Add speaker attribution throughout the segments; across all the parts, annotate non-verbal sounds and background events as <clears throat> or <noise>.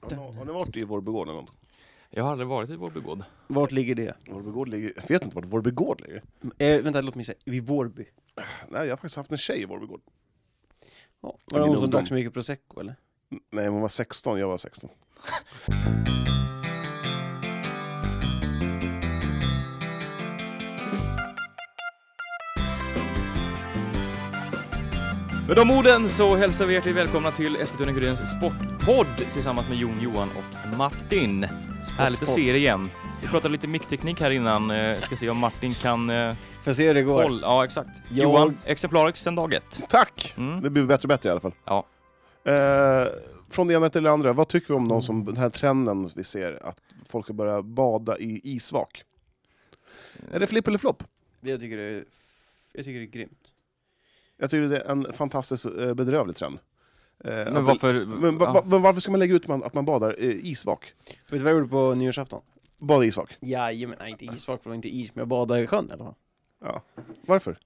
Speaker 1: Har, har ni varit i Vårbygård någon gång?
Speaker 2: Jag har aldrig varit i vår begåd.
Speaker 3: Vart ligger det?
Speaker 1: Vårbygård ligger... Jag vet inte vart Vårbygård ligger.
Speaker 3: Eh, vänta, låt mig säga. Vid Vårby.
Speaker 1: Nej, jag har faktiskt haft en tjej i Vårbygård.
Speaker 3: Ja. Var
Speaker 1: Min
Speaker 3: det hon
Speaker 1: ungdom.
Speaker 3: som drack så mycket prosecco eller?
Speaker 1: N- Nej, hon var 16, jag var 16.
Speaker 2: Med de orden så hälsar vi hjärtligt välkomna till Eskilstuna-Kurirens sportpodd tillsammans med Jon, Johan och Martin. Härligt att se er igen. Vi pratade lite mickteknik här innan. eh, Ska se om Martin kan eh,
Speaker 3: Får se hur det går.
Speaker 2: hålla. Ja, exakt.
Speaker 3: Jag-
Speaker 2: Johan, exemplariskt sedan dag ett.
Speaker 1: Tack!
Speaker 2: Mm.
Speaker 1: Det blir bättre och bättre i alla fall.
Speaker 2: Ja.
Speaker 1: Eh, från det ena till det andra, vad tycker vi om någon som, den här trenden vi ser, att folk ska börja bada i isvak?
Speaker 2: Mm.
Speaker 1: Är det flipp eller flopp?
Speaker 3: Det jag tycker det är, f- jag tycker det är grymt.
Speaker 1: Jag tycker det är en fantastiskt eh, bedrövlig trend. Eh, att det-
Speaker 2: Men varför?
Speaker 1: men, va,
Speaker 2: ja.
Speaker 1: va, men varför ska man lägga ut man, att man badar eh, isvak?
Speaker 3: Vet du vad jag gjorde på nyårsafton?
Speaker 1: Bada isvak?
Speaker 3: Jajamän, nej inte isvak, för det var inte is, men jag badade i sjön i alla fall.
Speaker 1: Varför?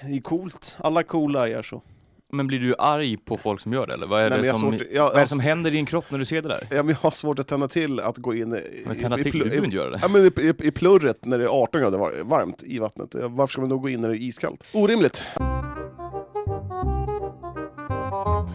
Speaker 3: Det är coolt. Alla coola gör så.
Speaker 2: Men blir du arg på folk som gör det eller? Vad är,
Speaker 1: Nej, men
Speaker 2: det,
Speaker 1: jag, Alltså-
Speaker 2: som,
Speaker 1: har svårt, jag,
Speaker 2: vad är det
Speaker 1: jag,
Speaker 2: som händer i din kropp när du ser det där?
Speaker 1: ja, men jag har svårt att tända till att gå in i,
Speaker 2: Men
Speaker 1: i-
Speaker 2: tända
Speaker 1: i,
Speaker 2: till,
Speaker 1: plu-
Speaker 2: du
Speaker 1: i,
Speaker 2: behöver inte göra det.
Speaker 1: Ja, men i, i, i plurret när det är 18 grader var, varmt i vattnet. Eh, Varför ska man då gå in när det är iskallt? Orimligt!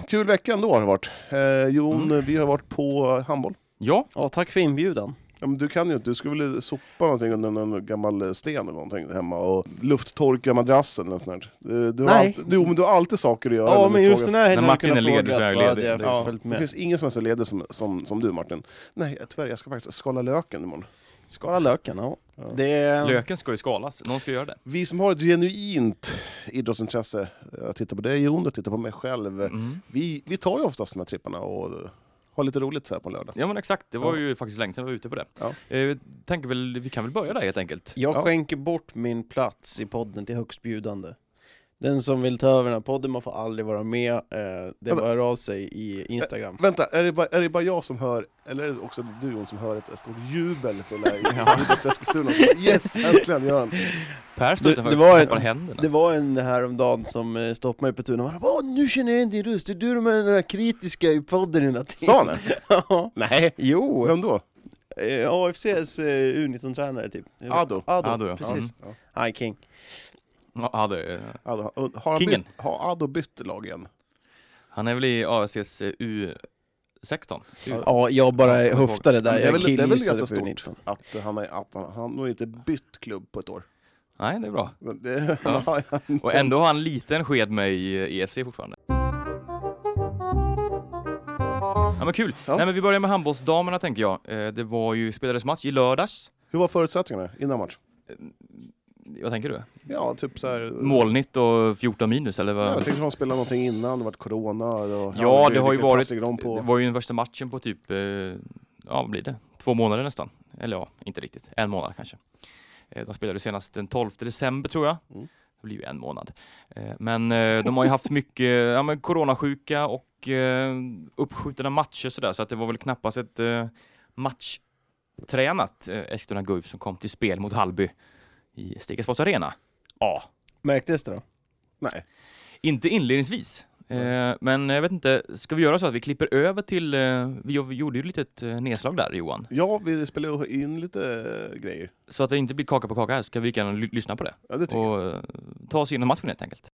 Speaker 1: Kul vecka ändå har det varit. Eh, Jon,
Speaker 2: Mm.
Speaker 1: vi har varit på handboll.
Speaker 2: Ja,
Speaker 3: Ja, tack för inbjudan.
Speaker 1: Ja, men du kan ju inte, du skulle väl sopa någonting under någon gammal eh, sten eller någonting hemma och lufttorka madrassen eller sånt där. Eh, Du, har
Speaker 3: Nej.
Speaker 1: alltid, jo men du har alltid saker att göra.
Speaker 3: Ja,
Speaker 1: när du
Speaker 3: men
Speaker 1: frågar.
Speaker 3: just den här helgen
Speaker 2: När Martin
Speaker 3: hade jag
Speaker 2: är ledig
Speaker 3: kunnat fråga,
Speaker 2: så är jag
Speaker 3: då hade
Speaker 2: ledig.
Speaker 3: jag
Speaker 1: Ja,
Speaker 3: följt
Speaker 1: det
Speaker 3: med.
Speaker 1: finns ingen som är så ledig som, som, som du Martin. Nej tyvärr, jag ska faktiskt skala löken imorgon.
Speaker 3: Skala löken, ja.
Speaker 1: Ja.
Speaker 3: Det är...
Speaker 2: löken ska ju skalas. Någon ska göra det.
Speaker 1: Vi som har ett genuint idrottsintresse, jag tittar på dig Jon, jag tittar på mig själv.
Speaker 2: Mm.
Speaker 1: Vi, vi tar ju oftast de här tripparna och eh, har lite roligt så här på en lördag.
Speaker 2: Ja men exakt, det var
Speaker 1: Ja.
Speaker 2: ju faktiskt länge sedan vi var ute på det.
Speaker 1: Ja.
Speaker 2: Eh, tänker väl, vi kan väl börja där helt enkelt.
Speaker 3: Jag
Speaker 1: Ja.
Speaker 3: skänker bort min plats i podden till högstbjudande. Den som vill ta över den här podden, man får aldrig vara med. Eh, det
Speaker 1: Ja, men-
Speaker 3: bara hör av sig i Instagram.
Speaker 1: Vänta, är det, bara, är det bara jag som hör, eller är det också du Jon som hör ett stort jubel från Idrotts-Eskilstuna? Yes, äntligen gör han!
Speaker 2: Per står
Speaker 3: Det-
Speaker 2: utanför
Speaker 3: det var-
Speaker 2: och klappar händerna.
Speaker 3: Det var en häromdagen som eh, stoppade mig på tunneln och bara Åh, nu känner jag igen din röst, det är du med den där kritiska i podden hela tiden.
Speaker 1: Sa han det?
Speaker 3: <laughs> Ja.
Speaker 1: Nej!
Speaker 3: Jo,
Speaker 1: Vem då?
Speaker 3: eh, AFCs eh, U19-tränare typ.
Speaker 1: Ado?
Speaker 3: Ado,
Speaker 2: Ado, ja.
Speaker 3: precis.
Speaker 1: Ja. Mm.
Speaker 3: Han är king.
Speaker 2: Ja, ja, det är...
Speaker 1: Ado, har, han
Speaker 2: Kingen.
Speaker 1: bytt, har Ado bytt lag igen?
Speaker 2: Han är väl i AFCs eh, U16?
Speaker 3: Ja, jag bara
Speaker 2: Ja,
Speaker 3: höftade
Speaker 1: Men
Speaker 3: där,
Speaker 1: det är
Speaker 3: jag
Speaker 1: väl, det är väl
Speaker 3: killgissade
Speaker 1: ganska
Speaker 3: på
Speaker 1: stort
Speaker 3: U19.
Speaker 1: att han, är, att han, han har inte bytt klubb på ett år.
Speaker 2: Nej, det är bra.
Speaker 1: Men Det, <laughs>
Speaker 2: Ja.
Speaker 1: Mm.
Speaker 2: Och ändå har han liten sked med i eh, EFC fortfarande. Ja men kul!
Speaker 1: Ja.
Speaker 2: Nej men vi börjar med handbollsdamerna tänker jag. Eh, Det var ju, spelades match i lördags.
Speaker 1: Hur var förutsättningarna innan match?
Speaker 2: Vad tänker du?
Speaker 1: Ja, typ så här...
Speaker 2: Molnigt och 14 minus eller
Speaker 1: Ja,
Speaker 2: vad?
Speaker 1: jag tänkte de spelade någonting innan, det var corona. Och
Speaker 2: Ehm, Ja, det har ju
Speaker 1: vilken
Speaker 2: varit-
Speaker 1: pass ligger de
Speaker 2: Det
Speaker 1: På.
Speaker 2: var ju den värsta matchen på typ, eh, ja vad blir det? Två månader nästan. Eller ja, inte riktigt. En månad kanske. Eh, De spelade senast den 12 december tror jag.
Speaker 1: Mm.
Speaker 2: Det blir ju en månad. Eh, Men eh, de har ju haft mycket <laughs> ja, men coronasjuka och eh, uppskjutna matcher sådär, så att det var väl knappast ett eh, matchtränat eh, Eskilstuna Guif som kom till spel mot Hallby i Stegasports Arena. Ja,
Speaker 3: Märktes det då?
Speaker 1: Nej.
Speaker 2: inte inledningsvis. Eh, men jag vet inte, ska vi göra så att vi klipper över till, eh, vi vi gjorde ju ett litet eh, nedslag där Johan.
Speaker 1: Ja, vi spelade ju in lite eh, grejer.
Speaker 2: Så att det inte blir kaka på kaka här så kan vi gärna ly- lyssna på det.
Speaker 1: Ja, det tycker jag.
Speaker 2: Och eh, ta oss igenom matchen helt enkelt.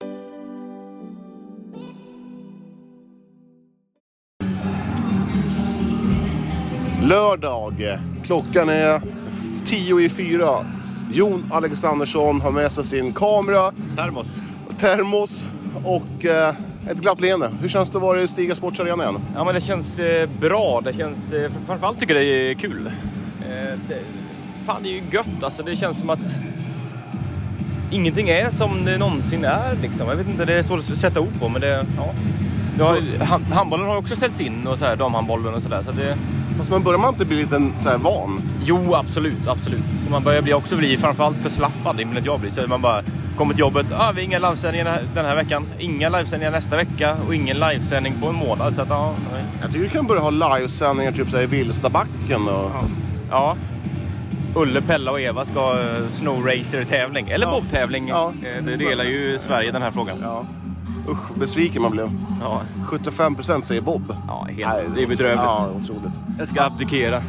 Speaker 1: Lördag. Klockan är tio i fyra. Jon Alexandersson har med sig sin kamera,
Speaker 4: Termos.
Speaker 1: termos och eh, ett glatt leende. Hur känns det att vara i Stiga Sports Arena igen?
Speaker 2: Ja men det känns eh, bra, det känns, eh, framförallt tycker jag det är kul. fan det är ju gött alltså, det känns som att ingenting är som det någonsin är liksom. Jag vet inte, det är svårt att sätta ord på men det, ja. handbollen har också ställts in och så här, damhandbollen och sådär så det
Speaker 1: Fast man börjar man inte bli lite så här van?
Speaker 2: Jo, absolut, absolut. Man börjar bli också bli framförallt förslappad, det är väl jag blir. Så man bara kommer till jobbet, ah, vi har inga livesändningar den här- den här veckan, inga livesändningar nästa vecka och ingen livesändning på en månad. Så att, ja, nej.
Speaker 1: Jag tycker vi kan börja ha livesändningar typ så här i Vilstabacken och...
Speaker 2: ja. Ulle, Pella och Eva ska ha eh, snow racer tävling eller bobtävling.
Speaker 1: Ja.
Speaker 2: Eh, Det delar ju Sverige den här frågan.
Speaker 1: Ja. Usch, besviken man blev.
Speaker 2: Ja,
Speaker 1: 75% säger Bob.
Speaker 2: ja helt,
Speaker 1: Nej,
Speaker 2: det är bedrövligt.
Speaker 1: Ja, otroligt.
Speaker 2: Jag ska abdikera.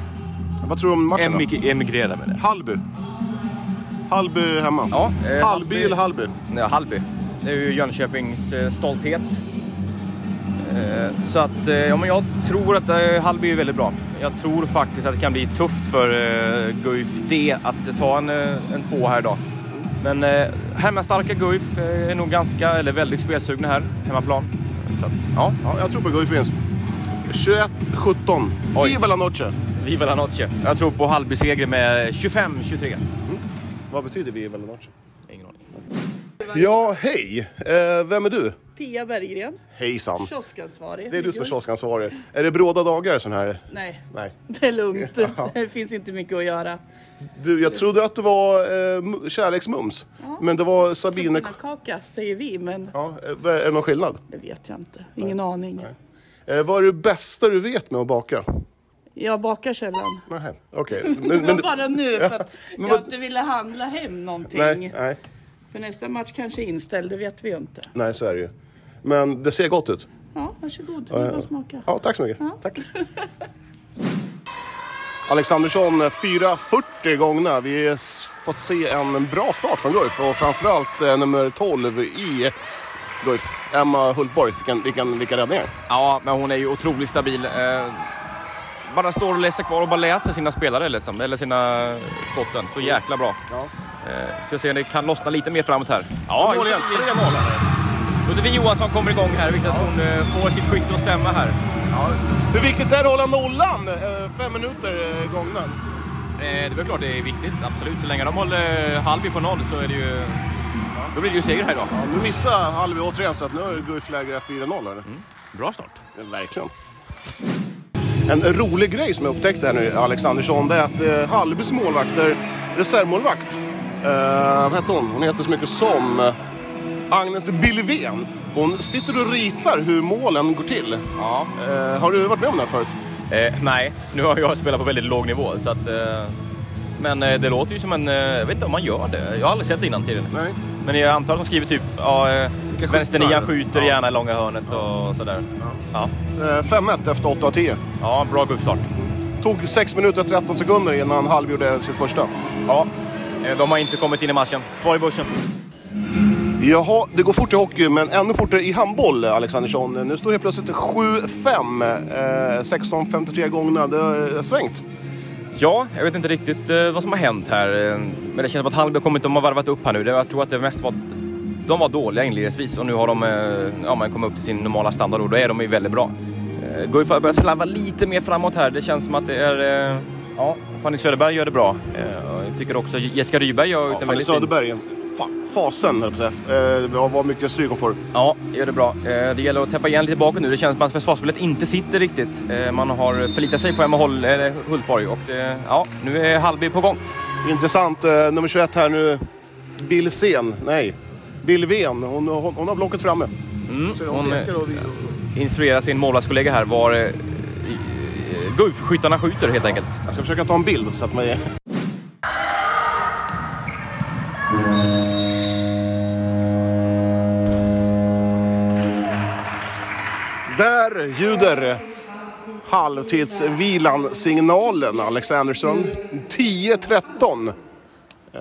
Speaker 1: Vad tror du om matchen då?
Speaker 2: Emig- emigrera med det.
Speaker 1: Hallby. Hallby hemma.
Speaker 2: Ja, eh,
Speaker 1: Hallby eller Hallby?
Speaker 2: Nej, Hallby. Det är ju Jönköpings eh, stolthet. Eh, Så att, eh, ja, men jag tror att eh, Hallby är väldigt bra. Jag tror faktiskt att det kan bli tufft för eh, Guif D att ta en, eh, en två här idag. Men eh, hemmastarka Guif eh, är nog ganska, eller väldigt spelsugna här, hemmaplan. Så att, ja,
Speaker 1: Ja, jag tror på Guif vinst. 21-17.
Speaker 2: Oj.
Speaker 1: Viva la noche!
Speaker 2: viva la noche. Jag tror på Hallby-seger med 25-23.
Speaker 1: Vad betyder viva la noche?
Speaker 2: Ingen aning.
Speaker 1: Ja, hej! Eh, vem är du?
Speaker 5: Pia Berggren,
Speaker 1: Hejsan.
Speaker 5: kioskansvarig.
Speaker 1: Mm. Det är du som är kioskansvarig. Är det bråda dagar sån här?
Speaker 5: Nej,
Speaker 1: Nej.
Speaker 5: det är lugnt. <laughs> Det finns inte mycket att göra.
Speaker 1: Du, jag trodde att det var eh, m- kärleksmums. Men det var Sabine...
Speaker 5: Kaka säger vi, men
Speaker 1: Ja, eh, är det någon skillnad?
Speaker 5: det vet jag inte. Ingen aning.
Speaker 1: Eh, vad är det bästa du vet med att baka?
Speaker 5: Jag bakar sällan.
Speaker 1: Nähä, okej. <laughs> Men,
Speaker 5: Men
Speaker 1: men,
Speaker 5: bara nu för att
Speaker 1: men
Speaker 5: jag
Speaker 1: vad-
Speaker 5: inte ville handla hem någonting.
Speaker 1: nej, nej,
Speaker 5: För nästa match kanske är inställd, det vet vi ju inte.
Speaker 1: nej, så är det ju. Men det ser gott ut.
Speaker 5: Ja, varsågod. Det är bara att smaka.
Speaker 1: Ja, tack så mycket. Tack. Alexandersson, 4.40 gångna. Vi har s- fått se en bra start från Guif och framförallt eh, nummer 12 i Guif, Emma Hultborg. Vilken, vilken, vilka räddningar!
Speaker 2: Ja, men hon är ju otroligt stabil. Eh, bara står och läser kvar och bara läser sina spelare, liksom, eller sina skotten. Så jäkla bra.
Speaker 1: Ja.
Speaker 2: Eh, så jag ser att det kan lossna lite mer framåt här. Ja,
Speaker 1: Mål igen, 3-0.
Speaker 2: Josefin Johansson kommer igång här, vilket att hon eh, får sitt skytte att stämma här.
Speaker 1: Hur viktigt är det att hålla nollan? Eh, Fem minuter eh, gångna.
Speaker 2: Eh, det är väl klart det är viktigt, absolut. Så länge de håller Halby på noll så är det ju... Då blir det ju seger här idag.
Speaker 1: Ja, nu missar Halvi återigen, så att nu är Guif lägre 4-0. Eller?
Speaker 2: Bra start.
Speaker 1: Verkligen. En rolig grej som jag upptäckte här nu, Alexandersson, det är att eh, Hallbys målvakter, reservmålvakt, eh, vad hette hon? Hon heter så mycket som eh, Agnes Billevén. Hon sitter och ritar hur målen går till.
Speaker 2: Ja.
Speaker 1: Eh, har du varit med om det här förut?
Speaker 2: Eh, nej, nu har jag spelat på väldigt låg nivå. Så att, eh, men eh, det låter ju som en... Eh, jag vet inte om man gör det. Jag har aldrig sett det innan tidigare.
Speaker 1: Nej.
Speaker 2: Men jag antar att de skriver typ ja, eh,
Speaker 1: skjuta
Speaker 2: vänsternian
Speaker 1: eller?
Speaker 2: skjuter
Speaker 1: Ja.
Speaker 2: gärna i långa hörnet och sådär. Ja,
Speaker 1: Eh, 5-1 efter 8 av 10.
Speaker 2: ja bra gubbstart.
Speaker 1: Tog 6 minuter och 13 sekunder innan Hallby gjorde sitt första.
Speaker 2: Ja. eh, De har inte kommit in i matchen. Kvar i bussen.
Speaker 1: Jaha, det går fort i hockey, men ännu fortare i handboll, Alexandersson. Nu står det plötsligt 7-5. Eh, 16.53 gångna. Det har eh, svängt.
Speaker 2: Ja, jag vet inte riktigt eh, vad som har hänt här. eh, Men det känns som att Hallby har kommit, de har varvat upp här nu. Det- Jag tror att det mest var... De var dåliga inledningsvis och nu har de eh, ja, men kommit upp till sin normala standard och då är de ju väldigt bra. Eh, Guif har börjat slarva lite mer framåt här. Det känns som att det är... eh, Ja, Fanny Söderberg gör det bra. Eh, och Jag tycker också Jessica Ryberg gör ut en
Speaker 1: Fanny
Speaker 2: väldigt fin...
Speaker 1: Söderberg, fa- fasen höll jag på att säga. Eh, vad- Vad mycket stryk hon får.
Speaker 2: Ja, gör det bra. Eh, Det gäller att täppa igen lite bakåt nu. Det känns som att försvarsspelet inte sitter riktigt. Eh, Man har förlitat sig på Emma Hol- eller Hultborg och eh, ja, nu är Hallby på gång.
Speaker 1: Intressant, eh, nummer 21 här nu. Billsen, nej. Billven, hon, hon, hon har blocket framme.
Speaker 2: Mm,
Speaker 1: Så de
Speaker 2: hon eh,
Speaker 1: pekar och vi-
Speaker 2: instruerar sin målvaktskollega här var eh, Guif-skyttarna skjuter helt enkelt.
Speaker 1: Jag ska försöka ta en bild så att man... Där ljuder halvtidsvilan signalen, Alexandersson. 10-13. Eh,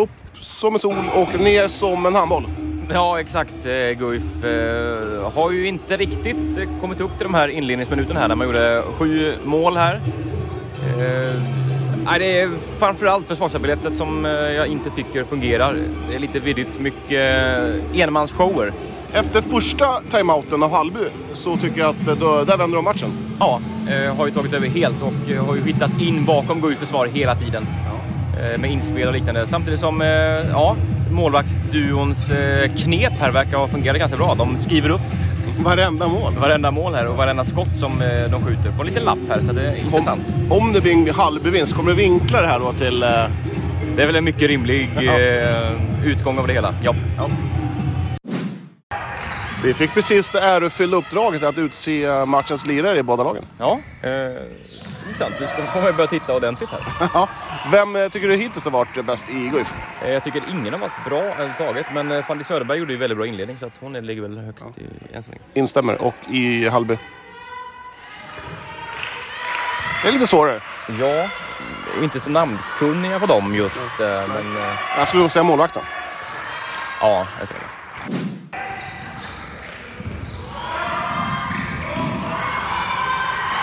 Speaker 1: upp som en sol och ner som en handboll.
Speaker 2: Ja, exakt. eh, Guif eh, har ju inte riktigt eh, kommit upp till de här inledningsminuterna här när man gjorde sju mål här. Eh, nej, det är framförallt försvarsarbetet som eh, jag inte tycker fungerar. Det är lite virrigt, mycket eh, enmansshower.
Speaker 1: Efter första timeouten av Hallby så tycker jag att eh, då, där vänder de matchen.
Speaker 2: Ja, eh, har ju tagit över helt och eh, har ju hittat in bakom Guifs försvar hela tiden. Eh, med inspel och liknande. Samtidigt som eh, ja, målvaktsduons eh, knep här verkar ha fungerat ganska bra. De skriver upp
Speaker 1: Varenda mål.
Speaker 2: varenda mål här och varenda skott som eh, de skjuter på en liten lapp här, så det är intressant.
Speaker 1: Om, om det blir en halvbevinst, kommer du vinkla det här då till... Eh,
Speaker 2: Det är väl en mycket rimlig eh, utgång av det hela. Ja.
Speaker 1: Vi fick precis det ärofyllda uppdraget att utse matchens lirare i båda lagen.
Speaker 2: Ja, eh, så intressant. Vi ska få mig börja titta ordentligt här.
Speaker 1: Ja. Vem eh, tycker du hittills har varit eh, bäst i GIF?
Speaker 2: Eh, Jag tycker ingen har varit bra överhuvudtaget, men eh, Fanny Söderberg gjorde ju väldigt bra inledning så att hon är- ligger väl högt i, än så länge.
Speaker 1: Instämmer. Och i Hallby? Det är lite svårare.
Speaker 2: Ja, och inte så namnkunniga på dem just, eh, men eh,
Speaker 1: Jag skulle nog säga målvakten.
Speaker 2: ja, än så länge.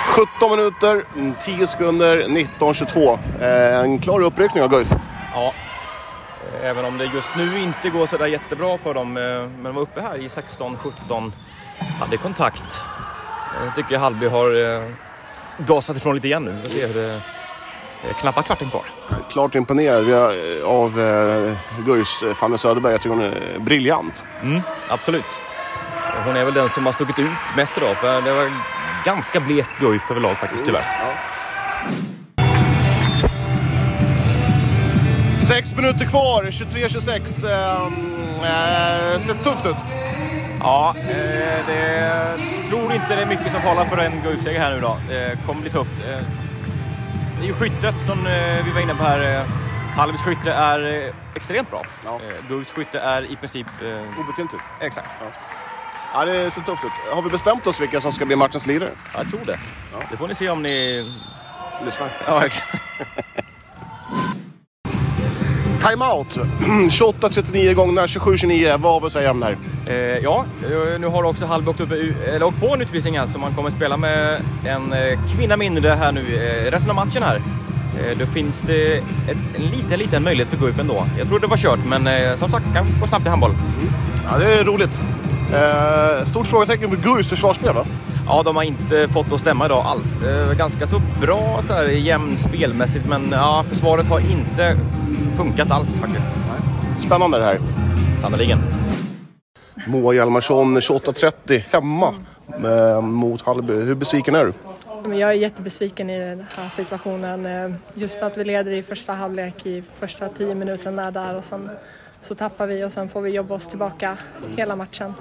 Speaker 2: det.
Speaker 1: 17 minuter, mm, 10 sekunder, 19.22. Eh, en klar uppryckning av Guif.
Speaker 2: Ja, eh, även om det just nu inte går sådär jättebra för dem, eh, men de var uppe här i 16-17, hade kontakt. Jag tycker Hallby har eh, gasat ifrån lite igen nu. Vi får se hur det... det är Knappt kvarten kvar.
Speaker 1: Klart imponerad vi har, eh, av eh, Guifs eh, Fanny Söderberg. Jag tycker hon är briljant.
Speaker 2: Mm, absolut. Hon är väl den som har stuckit ut mest idag. För det var ganska blekt Guif överlag faktiskt tyvärr.
Speaker 1: Sex minuter kvar, 23-26. Eh, eh, ser tufft ut.
Speaker 2: Ja, eh, det tror inte det är mycket som talar för en Guif-seger här nu då. Det kommer bli tufft. Eh, Det är ju skyttet som eh, vi var inne på här. Eh, Hallbys skytte är eh, extremt bra.
Speaker 1: Ja.
Speaker 2: Eh, Guifs skytte är i princip... eh,
Speaker 1: Obefintligt.
Speaker 2: Exakt.
Speaker 1: Ja, det ser tufft ut. Har vi bestämt oss vilka som ska bli matchens lirare?
Speaker 2: Ja, jag tror det.
Speaker 1: Ja.
Speaker 2: Det får ni se om ni...
Speaker 1: Lyssna.
Speaker 2: Ja, exakt.
Speaker 1: <clears throat> Timeout. 28-39 gångna, 27-29. Vad har vi att säga om det här?
Speaker 2: Eh, ja, eh, nu har också Hallby åkt, upp, eller åkt på en utvisning här så man kommer spela med en eh, kvinna mindre här nu eh, resten av matchen här. Eh, då finns det ett, en liten, liten möjlighet för Guif ändå. Jag trodde det var kört, men eh, som sagt, kan gå snabbt i handboll.
Speaker 1: Ja, det är roligt. Eh, stort frågetecken för Guifs försvarsspel, va?
Speaker 2: Ja, de har inte fått att stämma idag alls. Eh, ganska så bra så här, jämn spelmässigt, men ja, försvaret har inte funkat alls faktiskt.
Speaker 1: Spännande det här.
Speaker 2: Sannerligen.
Speaker 1: Moa Hjalmarsson, 28-30 hemma eh, mot Hallby. Hur besviken är du?
Speaker 6: Men jag är jättebesviken i den här situationen. Eh, Just att vi leder i första halvlek i första tio minuterna där och sen så tappar vi och sen får vi jobba oss tillbaka hela matchen.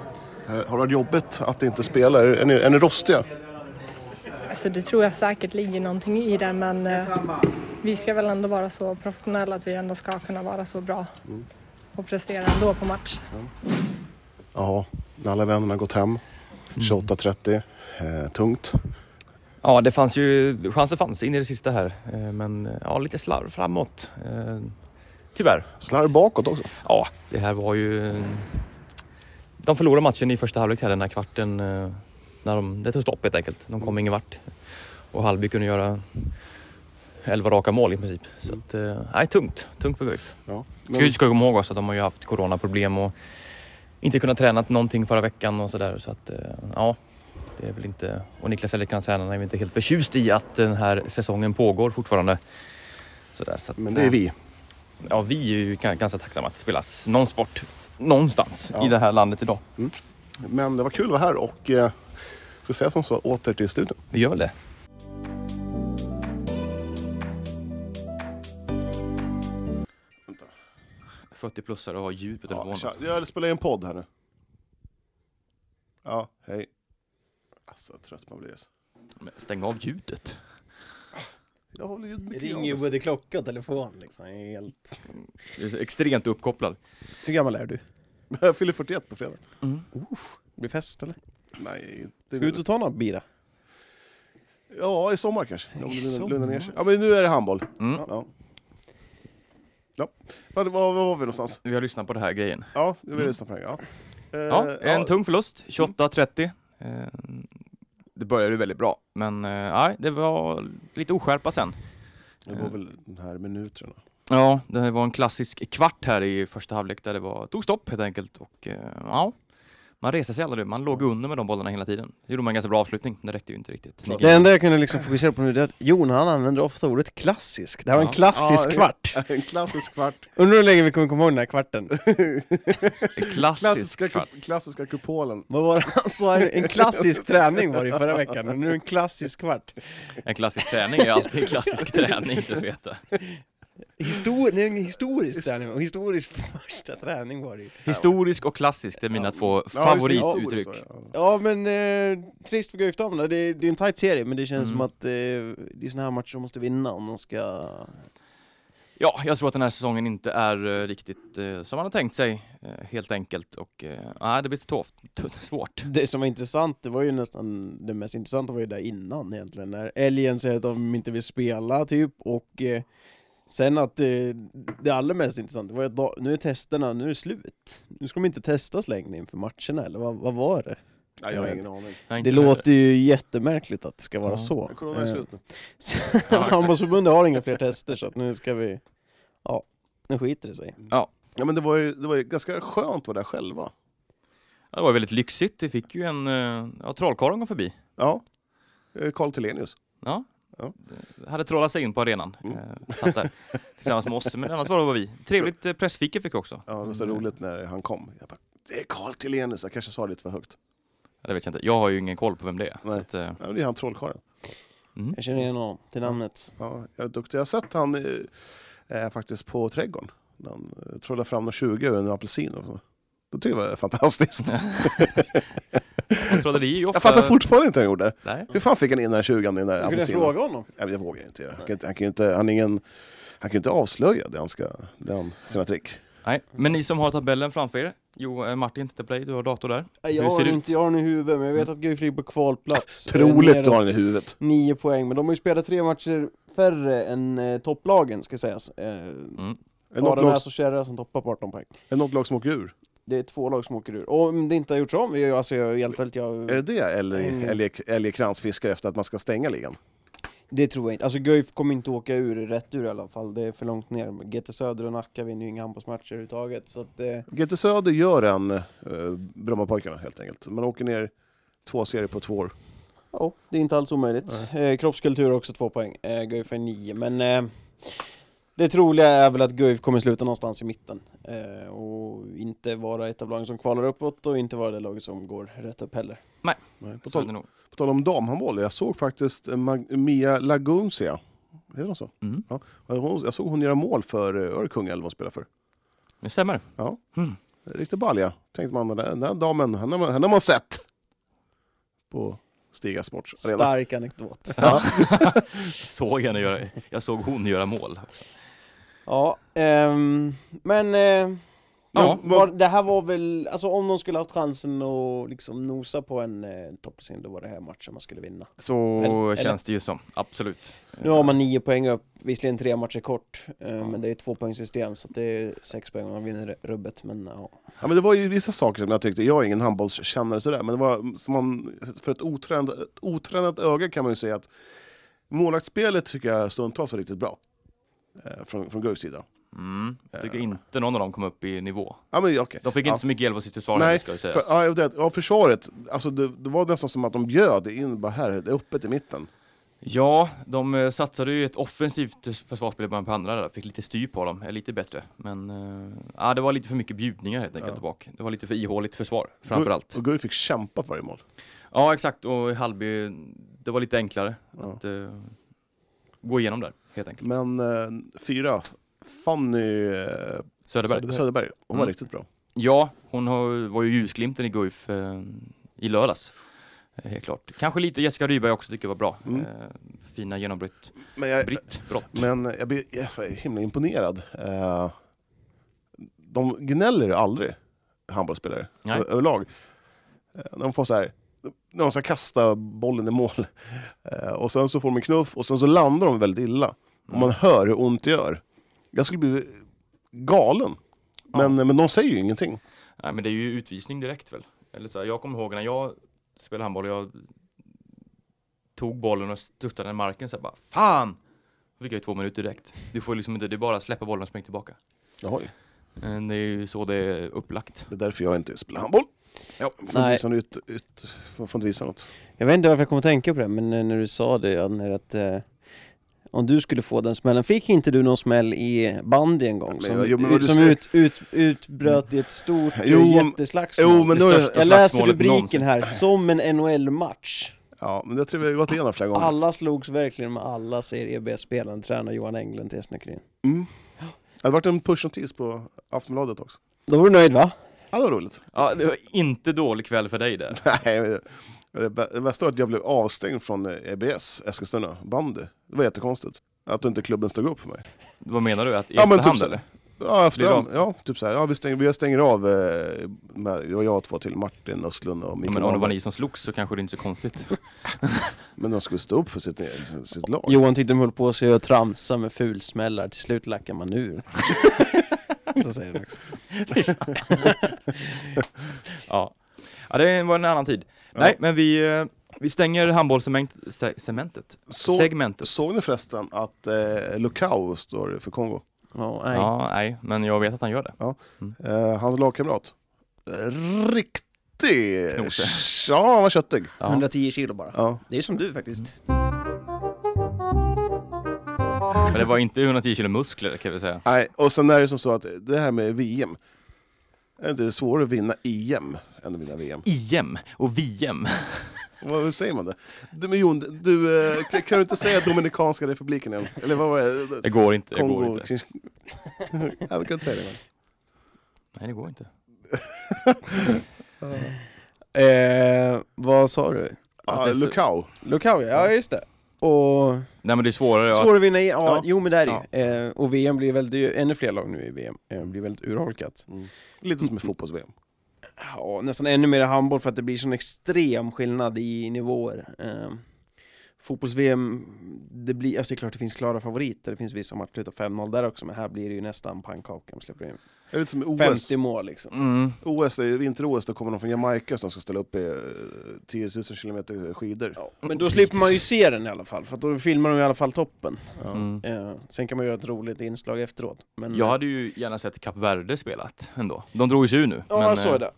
Speaker 1: Eh, har det varit jobbigt att inte spela? Är, är, ni, är ni rostiga?
Speaker 6: Alltså det tror jag säkert ligger någonting i det men eh, vi ska väl ändå vara så professionella att vi ändå ska kunna vara så bra och prestera ändå på match.
Speaker 1: Ja, när alla vännerna har gått hem. 28-30. Eh, tungt.
Speaker 2: Ja, det fanns ju, chansen fanns in i det sista här. Eh, Men ja, lite slarv framåt. Eh, Tyvärr.
Speaker 1: Slarv bakåt också.
Speaker 2: Ja, det här var ju... De förlorade matchen i första halvlek här, den här kvarten. eh, När de, det tog stopp helt enkelt. De kom ingen vart. Och Hallby kunde göra elva raka mål i princip. Så att, eh, nej, tungt. Tungt för Guif.
Speaker 1: Ja.
Speaker 2: Ska ju ska komma ihåg också att de har ju haft coronaproblem och inte kunnat träna någonting förra veckan och sådär. Så att, eh, ja, det är väl inte... Och Niklas Ellercrantz, tränaren, är väl inte helt förtjust i att den här säsongen pågår fortfarande. Sådär, så att,
Speaker 1: Men det är
Speaker 2: eh,
Speaker 1: vi.
Speaker 2: ja, vi är ju ga- ganska tacksamma att det spelas någon sport någonstans i det här landet idag.
Speaker 1: Men det var kul att vara här och eh, ska säga som så, åter till studion.
Speaker 2: Vi gör väl det.
Speaker 1: Vänta.
Speaker 2: 40 plussare och har ljud på
Speaker 1: Ja,
Speaker 2: telefonen.
Speaker 1: tja, jag spelar in en podd här nu. Ja, hej. Alltså, trött man blir. alltså.
Speaker 2: Men Stäng av ljudet.
Speaker 1: Jag håller ju
Speaker 3: Det
Speaker 1: mycket
Speaker 3: ringer ju både klocka och telefon liksom. Jag är Helt...
Speaker 2: Du är så extremt uppkopplad.
Speaker 3: Hur gammal är du?
Speaker 1: Jag <laughs> fyller 41 på fredag.
Speaker 3: Blir fest eller?
Speaker 1: Nej,
Speaker 3: Ska du ut och ta några bira?
Speaker 1: Ja, i sommar kanske. Om det
Speaker 3: sommar?
Speaker 1: lugnar ner sig. Ja, men nu är det handboll.
Speaker 2: Mm.
Speaker 1: Ja. Ja. Var, var, var var vi någonstans?
Speaker 2: Vi har lyssnat på det här grejen.
Speaker 1: Ja, det var lyssna på det. Ja. Eh,
Speaker 2: Ja, en
Speaker 1: ja,
Speaker 2: tung förlust. 28-30. Eh, Det började ju väldigt bra, men eh, nej, det var lite oskärpa sen.
Speaker 1: Det var väl den här
Speaker 2: <laughs>
Speaker 1: minuterna.
Speaker 2: Ja, det här var en klassisk kvart här i första halvlek där det var, tog stopp helt enkelt. Och, eh, ja, man reste sig aldrig, man låg under med de bollarna hela tiden. Det gjorde man en ganska bra avslutning, det räckte ju inte riktigt.
Speaker 3: Det enda jag kunde liksom fokusera på nu det är att Jon han använder ofta ordet klassisk. Det här var en
Speaker 2: Ja.
Speaker 3: klassisk
Speaker 1: Ja,
Speaker 3: kvart.
Speaker 1: <laughs> En klassisk
Speaker 2: <laughs>
Speaker 1: kvart.
Speaker 3: Undrar hur länge vi kommer komma ihåg den här kvarten.
Speaker 2: Klassisk
Speaker 1: Klassiska,
Speaker 2: kvart.
Speaker 1: ku- klassiska kupolen.
Speaker 3: Vad var det han sa? En klassisk träning var det i förra veckan, och nu en klassisk kvart.
Speaker 2: En klassisk träning är alltid en klassisk träning, så att veta.
Speaker 3: Histor- det är en historisk träning, och historisk <laughs> första träning var det ju.
Speaker 2: Historisk och klassisk, det är mina två favorituttryck.
Speaker 3: Ja men eh, trist för Guif Damerna, det, är- det är en tight serie men det känns som att eh, det är såna här matcher de måste vinna om de ska...
Speaker 2: Ja, jag tror att den här säsongen inte är eh, riktigt eh, som man har tänkt sig, eh, helt enkelt. Och eh, nej, det blir tufft, <laughs> t- svårt.
Speaker 3: Det som var intressant, det var ju nästan det mest intressanta var ju där innan egentligen när Älgen säger att de inte vill spela typ och eh, sen att eh, det allra mest intressanta var ju att da- nu är testerna, nu är det slut. Nu ska de inte testas längre inför matcherna eller vad, vad var det?
Speaker 1: Nej, jag har ingen aning.
Speaker 2: Jag är
Speaker 3: Det
Speaker 2: inte-
Speaker 3: låter ju jättemärkligt att det ska vara
Speaker 2: Ja.
Speaker 3: så.
Speaker 1: Corona är
Speaker 3: Eh,
Speaker 1: slut nu.
Speaker 3: <laughs> Handbollsförbundet har inga fler tester så att nu ska vi... Ja, nu skiter det sig.
Speaker 1: Ja, men det var ju, det var ju ganska skönt att vara där själva.
Speaker 2: Ja, Det var väldigt lyxigt, vi fick ju en... eh, Ja, trollkarlen kom förbi.
Speaker 1: Ja. Eh, Carl Telenius.
Speaker 2: Ja.
Speaker 1: Ja.
Speaker 2: Hade trollat sig in på arenan.
Speaker 1: Mm.
Speaker 2: Eh, Satt där tillsammans med oss, men annars var det bara vi. Trevligt eh, pressfika fick vi också.
Speaker 1: Ja, det var så
Speaker 2: Mm.
Speaker 1: roligt när han kom. Jag bara, det är Carl Telenius. Jag kanske sa det lite för högt.
Speaker 2: Ja, det vet jag inte. Jag har ju ingen koll på vem det är.
Speaker 1: Nej.
Speaker 2: Så att, eh,
Speaker 1: Ja, men det är han trollkarlen. <laughs>
Speaker 2: mm.
Speaker 3: Jag känner igen honom till namnet.
Speaker 1: Ja, jag är duktig. Jag har sett han eh, eh, faktiskt på trädgården. När han eh, trollade fram några 20 ur en apelsin. Och så. Det tyckte jag var fantastiskt.
Speaker 2: Trolleri är ju ofta...
Speaker 1: Jag fattar fortfarande inte hur han gjorde.
Speaker 2: Nej.
Speaker 1: Hur fan fick han in den här 20 i den där
Speaker 3: Jag kunde
Speaker 1: apelsinen?
Speaker 3: fråga honom.
Speaker 1: Nej, men jag vågar ju inte göra. Han kan inte, han kan ju inte, han är ingen, han kan ju inte avslöja det han ska, det han, sina trick.
Speaker 2: Nej. Men ni som har tabellen framför er. Jo, eh, Martin, titta på dig. Du har dator där.
Speaker 3: Nej, Jag
Speaker 2: Hur ser
Speaker 3: har
Speaker 2: det
Speaker 3: inte jag har den i huvudet, men jag vet att Guif ligger på kvalplats. Eh,
Speaker 1: Troligt du
Speaker 3: då.
Speaker 1: har den i huvudet.
Speaker 3: Nio poäng, men de har ju spelat tre matcher färre än eh, topplagen ska sägas. Eh,
Speaker 1: Är det, något
Speaker 3: Bara
Speaker 1: lag,
Speaker 3: Näs och Kärra som toppar på 18 poäng.
Speaker 1: är det något lag som åker ur?
Speaker 3: Det är två lag som åker ur. Och om det inte har gjorts om, jag, alltså jag, helt ärligt, jag...
Speaker 1: Är det det eller
Speaker 3: Mm.
Speaker 1: eller- eller Krantz fiskar efter att man ska stänga ligan?
Speaker 3: Det tror jag inte. Alltså Guif kommer inte åka ur, rätt ur i alla fall. Det är för långt ner. GT Söder och Nacka vinner ju inga handbollsmatcher överhuvudtaget. Så att, eh,
Speaker 1: GT Söder gör en eh, Brommapojkarna helt enkelt. Man åker ner två serier på två år.
Speaker 3: Ja, det är inte alls omöjligt. Eh, kroppskultur har också två poäng. Eh, Guif är nio, men eh, det troliga är väl att Guif kommer sluta någonstans i mitten. Eh, och inte vara ett av lagen som kvalar uppåt och inte vara det laget som går rätt upp heller.
Speaker 1: Nej, på,
Speaker 2: Så är det
Speaker 1: tal,
Speaker 2: nog.
Speaker 1: på tal om damhandboll, jag såg faktiskt eh, Mag- Mia Laguncia. Är det så?
Speaker 2: Mm.
Speaker 1: Ja. Hon- Jag såg hon göra mål för eh, Örkunga eller vad hon spelar för.
Speaker 2: Det stämmer.
Speaker 1: Riktigt balja, tänkte man. Den där, den där damen, henne, har man- henne har man sett. På Stiga Sports arena.
Speaker 3: Stark anekdot.
Speaker 2: Såg henne göra... Jag såg hon göra mål.
Speaker 3: Ja, ehm, men eh,
Speaker 2: Ja,
Speaker 3: men var, det här var väl, alltså om de skulle haft chansen att liksom nosa på en eh, topplacering, då var det här matchen man skulle vinna.
Speaker 2: Så
Speaker 3: Eller-
Speaker 2: känns det ju som. Absolut.
Speaker 3: Nu har man nio poäng upp, visserligen tre matcher kort, eh,
Speaker 2: Ja.
Speaker 3: men det är ett tvåpoängssystem så att det är sex poäng om man vinner rubbet. Men ja,
Speaker 1: Ja, men det var ju vissa saker som jag tyckte, jag är ingen handbollskännare sådär, men det var som man, för ett otränat, ett otränat öga kan man ju säga att målvaktsspelet tycker jag stundtals var riktigt bra. Eh, från från Guifs sida.
Speaker 2: Mm. Jag tycker inte någon av dem kom upp i nivå.
Speaker 1: Ja, men, okay.
Speaker 2: De fick
Speaker 1: ja.
Speaker 2: inte så mycket hjälp av sitt försvar
Speaker 1: Nej,
Speaker 2: heller, ska ju sägas.
Speaker 1: För, ja, det, ja, försvaret, alltså det, det var nästan som att de bjöd in, bara här, det är öppet i mitten.
Speaker 2: Ja, de eh, satsade ju ett offensivt försvarsspel bland på andra där. Fick lite styr på dem, är lite bättre. Men eh, ja, det var lite för mycket bjudningar helt enkelt
Speaker 1: Ja.
Speaker 2: bak. Det var lite för ihåligt försvar framförallt.
Speaker 1: Och Guif fick kämpa för varje mål.
Speaker 2: Ja, exakt. Och i Hallby, det var lite enklare
Speaker 1: Ja.
Speaker 2: att eh, gå igenom där helt enkelt.
Speaker 1: Men eh, fyra, Fanny eh,
Speaker 2: Söderberg.
Speaker 1: Söderberg, Söderberg. hon var
Speaker 2: Mm.
Speaker 1: riktigt bra.
Speaker 2: Ja, hon har, var ju ljusglimten i Guif eh, i lördags. Eh, Helt klart. Kanske lite Jessica Ryberg också tycker jag var bra.
Speaker 1: Mm.
Speaker 2: Eh, fina genombrytt.
Speaker 1: Men jag,
Speaker 2: Britt, brott.
Speaker 1: Men jag blir jag är så himla imponerad. Eh, De gnäller ju aldrig, handbollsspelare,
Speaker 2: Nej.
Speaker 1: ö- överlag. Eh, De får så här, när de ska kasta bollen i mål, eh, och sen så får de en knuff, och sen så landar de väldigt illa. Och man hör hur ont det gör. Jag skulle bli galen. Men, men de säger ju ingenting.
Speaker 2: Nej, men det är ju utvisning direkt väl? Eller så här, jag kommer ihåg när jag spelade handboll, jag tog bollen och studsade den i marken så här, bara Fan! Då fick jag ju två minuter direkt. Du får ju liksom inte, det är bara att släppa bollen och springa tillbaka.
Speaker 1: Oj,
Speaker 2: Men det är ju så det är upplagt.
Speaker 1: det är därför jag inte spelar handboll.
Speaker 2: Ja.
Speaker 1: Jag Får inte
Speaker 3: Nej.
Speaker 1: visa, något ut, ut, får får inte visa något.
Speaker 3: jag vet inte varför jag kom att tänka på det, men eh, när du sa det Adner, att eh, om du skulle få den smällen, fick inte du någon smäll i bandy en gång?
Speaker 1: Men
Speaker 3: Som,
Speaker 1: jag- jo, men vad du
Speaker 3: som
Speaker 1: säger-
Speaker 3: ut, ut, utbröt i ett stort eh,
Speaker 1: Jo, men-
Speaker 3: jätteslagsmål?
Speaker 1: jo, men
Speaker 3: Det
Speaker 1: nu-
Speaker 3: största jag läser
Speaker 2: slagsmålet
Speaker 3: rubriken
Speaker 2: någonsin.
Speaker 3: här, som en NHL-match.
Speaker 1: Ja, men det tror jag vi har gått igenom flera gånger.
Speaker 3: E Alla slogs verkligen med alla, säger EB-spelaren, tränar Johan Englund till Snökrin.
Speaker 1: Mm. hade varit en pushnotis på Aftonbladet också.
Speaker 3: Då var du nöjd va?
Speaker 1: Ja, det var roligt.
Speaker 2: Ja, det var inte dålig kväll för dig där.
Speaker 1: <laughs> Nej, men det- det bä- det bästa var att jag blev avstängd från eh, EBS, Eskilstuna, bandy. Det var jättekonstigt. Att inte klubben stod upp för mig.
Speaker 2: Vad menar du? Att i
Speaker 1: Ja, men
Speaker 2: efterhand
Speaker 1: typ så-
Speaker 2: eller?
Speaker 1: Ja, efter
Speaker 2: Det var-
Speaker 1: dem. Ja, typ så här. Ja, vi stänger, vi stänger av, eh, med, det var jag och två till, Martin Östlund och
Speaker 2: Ja,
Speaker 1: Mikael
Speaker 2: men om det var
Speaker 1: Wahlberg.
Speaker 2: ni som slogs så kanske det inte är så <laughs> konstigt.
Speaker 1: Men de skulle stå upp för sitt, sitt lag.
Speaker 3: Johan tittade höll på sig och tramsa med fulsmällar, till slut lackar man <laughs> ur. Så säger han också.
Speaker 2: Ja. ja, det var en annan tid. Nej, men vi, eh, vi stänger handbollscementet.
Speaker 1: Så-
Speaker 2: Segmentet.
Speaker 1: Såg ni förresten att eh, Lukau står för Kongo?
Speaker 3: Ja, nej.
Speaker 2: Ja, nej, men jag vet att han gör det.
Speaker 1: Eh, hans lagkamrat. Riktig...
Speaker 2: Knose.
Speaker 1: Ja, han var köttig.
Speaker 3: 110 kilo bara.
Speaker 1: Ja.
Speaker 3: Det är som du faktiskt.
Speaker 2: Men det var inte 110 kilo muskler kan vi säga.
Speaker 1: Nej, och sen är det som så att det här med VM. Är inte det svårare att vinna EM än att vinna VM?
Speaker 2: IM och VM.
Speaker 1: Vad hur säger man det? Du, men Jon, du, eh, kan, kan du inte säga Dominikanska republiken igen? Eller vad var det?
Speaker 2: Det går inte. Det går
Speaker 1: Kongo...
Speaker 2: inte.
Speaker 1: Kris- Ja, Jag kan inte säga det. Men.
Speaker 2: Nej, det går inte.
Speaker 3: Eh, vad sa du?
Speaker 2: Att
Speaker 1: Ja,
Speaker 2: det är så-
Speaker 1: Lukau.
Speaker 3: Lukau, ja just det. Och
Speaker 2: Nej, men det är svårare. att-
Speaker 3: svår att vinna i, ja,
Speaker 1: Ja.
Speaker 3: jo men det är det ju. eh, Och VM blir väldigt, det är ju ännu fler lag nu i VM, eh, blir väldigt urholkat.
Speaker 1: Mm. Lite som i fotbolls-VM.
Speaker 3: Ja, nästan ännu mer i handboll för att det blir sån extrem skillnad i nivåer. Eh, Fotbolls-VM, det blir, alltså det är klart det finns klara favoriter, det finns vissa matcher utav 5-0 där också, men här blir det ju nästan pannkaka om släpper in
Speaker 1: Det är Lite som i OS.
Speaker 3: 50 mål liksom.
Speaker 2: Mm.
Speaker 1: OS, är vinter-OS, då kommer de från Jamaica som ska ställa upp i eh, 10 000 kilometer skidor.
Speaker 3: Men då slipper man ju se den i alla fall, för att då filmar de i alla fall toppen.
Speaker 2: Mm.
Speaker 3: Eh, sen kan man göra ett roligt inslag efteråt. Men,
Speaker 2: Jag hade ju gärna sett Kap Verde spelat ändå. De drog ju sig ur nu.
Speaker 3: Ja,
Speaker 2: men,
Speaker 3: jag såg
Speaker 2: eh,
Speaker 3: det.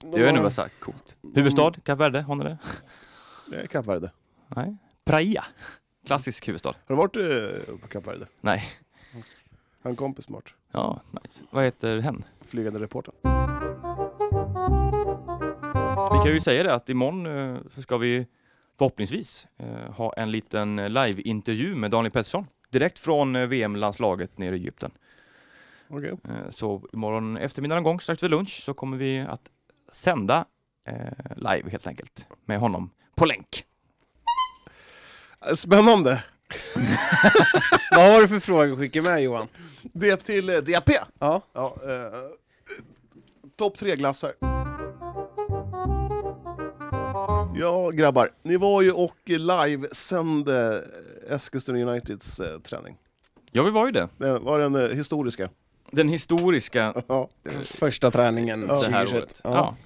Speaker 3: De
Speaker 2: Det är
Speaker 3: har-
Speaker 2: nog sagt coolt. Huvudstad, Kap Verde, har ni det?
Speaker 1: Det är Kap Verde.
Speaker 2: Nej. Praia. Klassisk huvudstad.
Speaker 1: Har du varit eh, på Kap Verde?
Speaker 2: Nej.
Speaker 1: Han en kompis smart.
Speaker 2: Ja, nice. Vad heter hen?
Speaker 1: Flygande reportern.
Speaker 2: Vi kan ju säga det att imorgon eh, så ska vi förhoppningsvis eh, ha en liten eh, liveintervju med Daniel Pettersson. Direkt från eh, VM-landslaget nere i Egypten.
Speaker 1: Okej.
Speaker 2: Eh, Så imorgon eftermiddag någon gång, strax vid lunch, så kommer vi att sända eh, live helt enkelt. Med honom på länk.
Speaker 1: Eh, Spännande!
Speaker 3: <laughs> Vad har du för frågor att skicka med Johan?
Speaker 1: Det till eh, DP.
Speaker 3: Ja.
Speaker 1: Ja, eh, Topp tre glassar. Ja, grabbar. Ni var ju och livesände eh, Eskilstuna Uniteds eh, träning.
Speaker 2: Ja, vi var ju det.
Speaker 1: Det var den eh, historiska.
Speaker 2: Den historiska
Speaker 1: Ja.
Speaker 3: Första träningen
Speaker 2: det här
Speaker 3: 2021.
Speaker 2: året. Ja.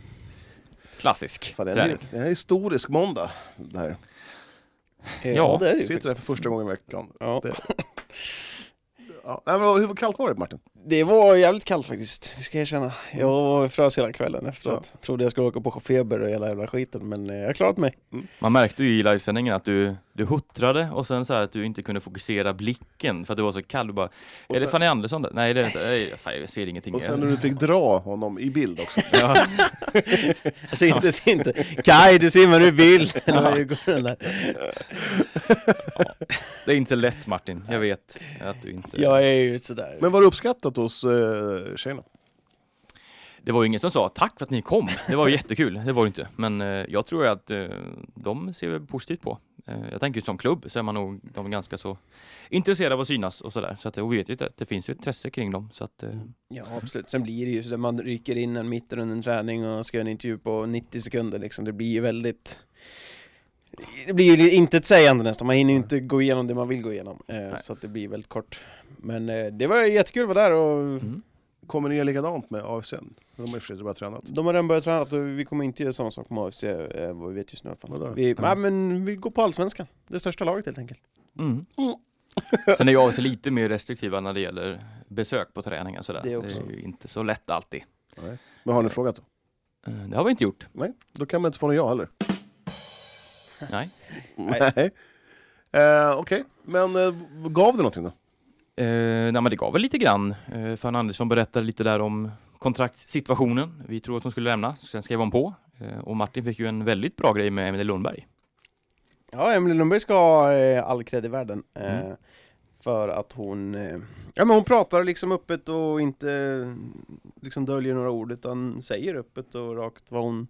Speaker 2: Klassisk.
Speaker 1: Fan, det, är en,
Speaker 2: träning.
Speaker 1: det är en historisk måndag. Där.
Speaker 3: Eh,
Speaker 2: Ja,
Speaker 3: det är det ju
Speaker 1: Sitter där
Speaker 3: faktiskt.
Speaker 1: för första gången i veckan.
Speaker 3: Ja.
Speaker 1: Det, ja. Nej, men hur kallt var det Martin?
Speaker 3: Det var jävligt kallt faktiskt, det ska jag erkänna. Jag frös hela kvällen efteråt. Trodde jag skulle åka på feber och hela jävla skiten, men eh, jag har klarat mig.
Speaker 2: Man märkte ju i livesändningen att du, du huttrade och sen så här att du inte kunde fokusera blicken för att du var så kall. Du bara, är det
Speaker 1: sen-
Speaker 2: Fanny Andersson där? Nej, det är det inte. Nej, fan, jag ser ingenting.
Speaker 1: Och sen när du fick dra honom i bild
Speaker 3: <laughs>
Speaker 1: också.
Speaker 2: ja,
Speaker 3: Alltså inte, se <laughs> inte. Kaj, du simmar ur bild! Eller <laughs> hur går den där?
Speaker 2: det är inte lätt Martin. Jag vet att du inte...
Speaker 3: Jag är ju sådär.
Speaker 1: Men var det uppskattat hos eh, tjejerna?
Speaker 2: Det var ju ingen som sa tack för att ni kom. Det var ju jättekul. Det var det inte. Men eh, jag tror ju att eh, de ser väl positivt på. Eh, jag tänker ju som klubb så är man nog de är ganska så intresserade av att synas och sådär. Så att, och vi vet ju att det finns ju intresse kring dem. Så att, eh,
Speaker 3: Ja, absolut. Sen blir det ju sådär, man rycker in en mitt under en träning och ska göra en intervju på 90 sekunder liksom. Det blir ju väldigt... Det blir ju inte ett sägande nästan, man hinner ju inte gå igenom det man vill gå igenom. Eh, så att det blir väldigt kort. Men eh, det var jättekul att vara där och
Speaker 1: Kommer ni göra likadant med AFC? De har ju för sig bara tränat.
Speaker 3: De har redan börjat träna, att vi kommer inte göra samma sak med AFC, eh, vad vi vet just nu i alla
Speaker 1: Vadå då?
Speaker 3: fall. Vi, nej, men vi går på Allsvenskan, det största laget helt enkelt.
Speaker 2: Mm. <laughs> Sen är jag också lite mer restriktiva när det gäller besök på träningar och sådär.
Speaker 3: Det också.
Speaker 2: är ju inte så lätt alltid.
Speaker 1: Men har ni frågat då?
Speaker 2: Eh, Det har vi inte gjort.
Speaker 1: Nej, då kan man inte få någon ja heller.
Speaker 2: Nej.
Speaker 1: <laughs> Nej. Eh, Okej, men eh, gav det någonting då?
Speaker 2: Eh, nej men det gav väl lite grann. Eh, Fan Andersson berättade lite där om kontraktssituationen. Vi trodde att hon skulle lämna, sen skrev hon på. Eh, och Martin fick ju en väldigt bra grej med Emelie Lundberg.
Speaker 3: Ja, Emelie Lundberg ska ha eh, all cred i världen. Eh, För att hon, eh, ja men hon pratar liksom öppet och inte eh, liksom döljer några ord utan säger öppet och rakt vad hon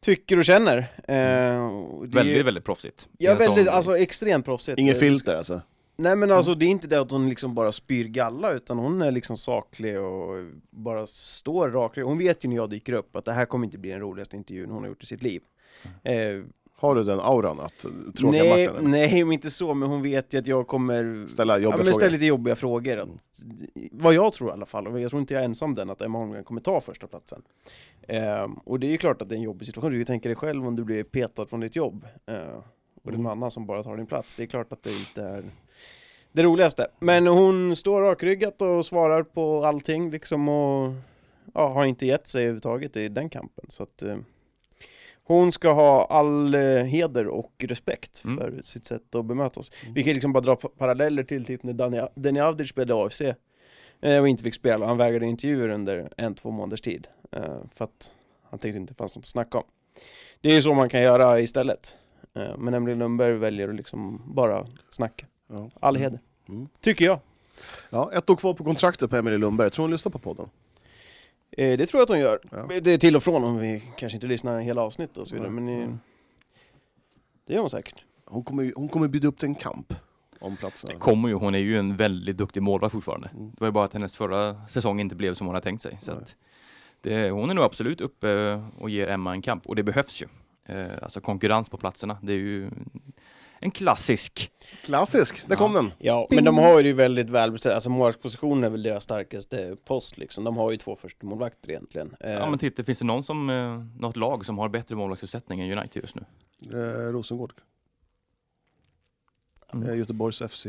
Speaker 3: tycker och känner. Eh, och det är-
Speaker 2: Väldigt, väldigt proffsigt. Eh,
Speaker 3: Ja
Speaker 2: En sån-
Speaker 3: väldigt, alltså extremt proffsigt.
Speaker 1: Inget filter alltså?
Speaker 3: Nej men alltså det är inte det att hon liksom bara spyr galla utan hon är liksom saklig och bara står rakt. Hon vet ju när jag dyker upp att det här kommer inte bli den roligaste intervjun hon har gjort i sitt liv. Eh,
Speaker 1: Har du den auran att tråka
Speaker 3: nej,
Speaker 1: Martin? eller?
Speaker 3: nej, men inte så, men hon vet ju att jag kommer
Speaker 1: Ställa jobbiga
Speaker 3: ja, men
Speaker 1: frågor? Mm.
Speaker 3: ställa lite jobbiga frågor. Att, vad jag tror i alla fall, och jag tror inte jag är ensam den, att Emma Holmgren kommer ta första platsen. Ehm, och det är ju klart att det är en jobbig situation, du tänker dig själv om du blir petad från ditt jobb eh, och det är någon annan som bara tar din plats. Det är klart att det inte är det roligaste. Men hon står rakryggat och svarar på allting liksom och ja, har inte gett sig överhuvudtaget i den kampen. Så att, eh, hon ska ha all eh, heder och respekt
Speaker 2: Mm.
Speaker 3: för sitt sätt att bemöta oss. Vi kan liksom bara dra pa- paralleller till typ när Dani- Denny Avdic spelade AFC eh, och inte fick spela. Han vägrade intervjuer under en, två månaders tid eh, för att han tänkte inte det fanns något att snacka om. Det är ju så man kan göra istället. Eh, Men Emily Lundberg väljer att liksom bara snacka.
Speaker 1: Ja.
Speaker 3: All heder.
Speaker 1: Mm.
Speaker 3: Tycker jag.
Speaker 1: Ja, ett år kvar på kontraktet på Emelie Lundberg. Tror hon lyssnar på podden?
Speaker 3: Eh, det tror jag att hon gör. Eh,
Speaker 1: Ja.
Speaker 3: Det är till och från om vi kanske inte lyssnar hela avsnitt och så vidare.
Speaker 1: Nej.
Speaker 3: Men eh, det gör hon säkert.
Speaker 1: Hon kommer, ju- hon kommer bjuda upp till en kamp om platsen.
Speaker 2: Det kommer ju, hon är ju en väldigt duktig målvakt fortfarande.
Speaker 1: Mm.
Speaker 2: Det var ju bara att hennes förra säsong inte blev som hon hade tänkt sig. Så
Speaker 1: Nej.
Speaker 2: att det, hon är nog absolut uppe och ger Emma en kamp och det behövs ju. Eh, alltså konkurrens på platserna, det är ju en klassisk.
Speaker 1: Klassisk, där kom den!
Speaker 3: Ja, men de har ju det ju väldigt väl beställt. Alltså målvaktspositionen är väl deras starkaste post liksom. De har ju två första målvakter egentligen. Eh,
Speaker 2: Ja men titta, finns det någon som, eh, något lag som har bättre målvaktsutsättning än United just nu?
Speaker 1: Eh, Rosengård.
Speaker 2: Mm.
Speaker 1: Eh, Göteborgs FC.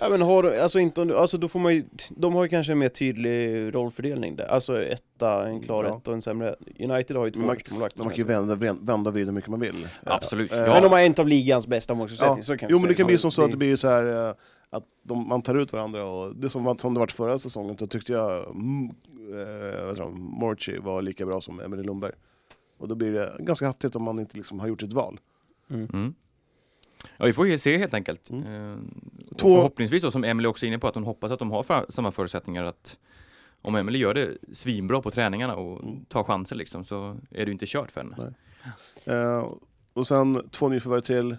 Speaker 3: Ja men har de- alltså inte om du, alltså då får man ju, de har ju kanske en mer tydlig rollfördelning där. Alltså etta, en klar
Speaker 1: Ja.
Speaker 3: etta och en sämre. United har ju två
Speaker 1: Men man-
Speaker 3: första målvakter.
Speaker 1: Man kan
Speaker 3: som
Speaker 1: ju
Speaker 3: jag
Speaker 1: vända, vända och vrida hur mycket man vill. Eh,
Speaker 2: Absolut.
Speaker 1: eh,
Speaker 3: säger.
Speaker 2: Ja.
Speaker 3: Men de har en av ligans bästa målvaktsutsättningar,
Speaker 1: Ja.
Speaker 3: så kan vi
Speaker 1: Jo men
Speaker 3: säga.
Speaker 1: det kan bli som så att det
Speaker 3: Det-
Speaker 1: blir så här eh, att de, man tar ut varandra och det är som, som det var förra säsongen så tyckte jag mm, eh, vad heter de, Morchi var lika bra som Emelie Lundberg. Och då blir det ganska hattigt om man inte liksom har gjort ett val.
Speaker 2: Mm. Ja, vi får ju se helt enkelt.
Speaker 1: Mm.
Speaker 2: Eh, och
Speaker 1: Två-
Speaker 2: Förhoppningsvis då, som Emily också är inne på, att hon hoppas att de har för, samma förutsättningar att om Emily gör det svinbra på träningarna och
Speaker 1: Mm.
Speaker 2: tar chanser liksom så är det ju inte kört för henne.
Speaker 1: Nej. Eh, och sen två nyförvärv till.